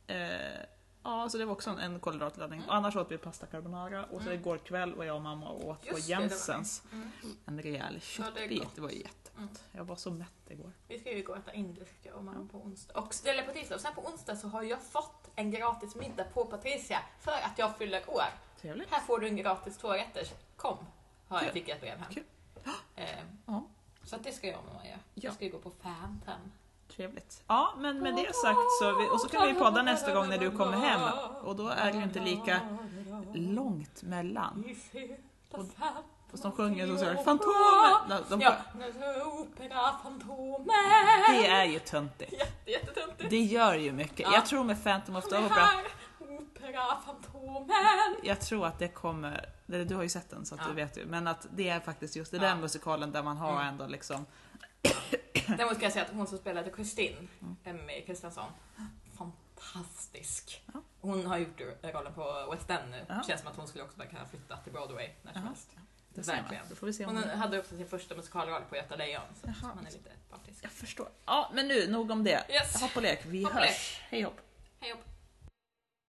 B: Mm.
A: Eh, ja, så det var också en, en kolhydratladdning.
B: Mm.
A: Och annars åt vi pasta carbonara och så
B: Mm.
A: igår kväll var jag och mamma och åt på
B: Just det, det var
A: Jensens
B: Mm.
A: en rejäl
B: Ja, det är
A: köttbit.
B: gott.
A: det var jättegott.
B: Mm.
A: Jag var så mätt igår.
B: Vi ska ju gå och äta indisk jag och mamma på onsdag. Och, eller på tisdag. Och sen på onsdag så har jag fått en gratis middag på Patricia för att jag fyller år.
A: Trevligt.
B: Här får du en gratis tvårätter. Kom, har jag
A: Kul.
B: fick jag ett brev hem.
A: Kul.
B: Eh,
A: Ja.
B: Så att det ska jag och mamma göra.
A: Ja.
B: Jag ska ju gå på Phantom.
A: Trevligt. Ja, men med det sagt så, vi, och så kan vi podda nästa gång när du kommer hem. Och då är det ju inte lika långt mellan. Och- Fast de sjunger så såhär Fantomen! Nej, De,
B: Ja, nu så opera Fantomen.
A: Det är ju töntigt.
B: Jätte, jättetöntigt.
A: Det gör ju mycket.
B: Ja.
A: Jag tror med Phantom of the
B: Det
A: Opera,
B: här, opera Fantomen.
A: jag tror att det kommer, eller du har ju sett den så att
B: Ja.
A: du vet ju, men att det är faktiskt just den
B: Ja.
A: där musikalen där man har
B: Mm.
A: ändå liksom,
B: Däremot kan jag säga att hon som spelade Kristin,
A: Mm.
B: Emmy Kristensson, fantastisk.
A: Ja.
B: Hon har gjort rollen på West End nu.
A: Ja.
B: Känns som att hon skulle också bara kunna flytta till Broadway när som
A: Ja.
B: helst.
A: det ser man.
B: Verkligen.
A: Då får vi se om
B: Hon
A: det.
B: hade också sin första musikalroll på Göta Lejon, så
A: Jaha.
B: man är lite partisk.
A: Jag förstår. Ja, men nu, nog om det.
B: Yes.
A: Hopp och lek, vi
B: Hopp och
A: hörs. Hej hopp.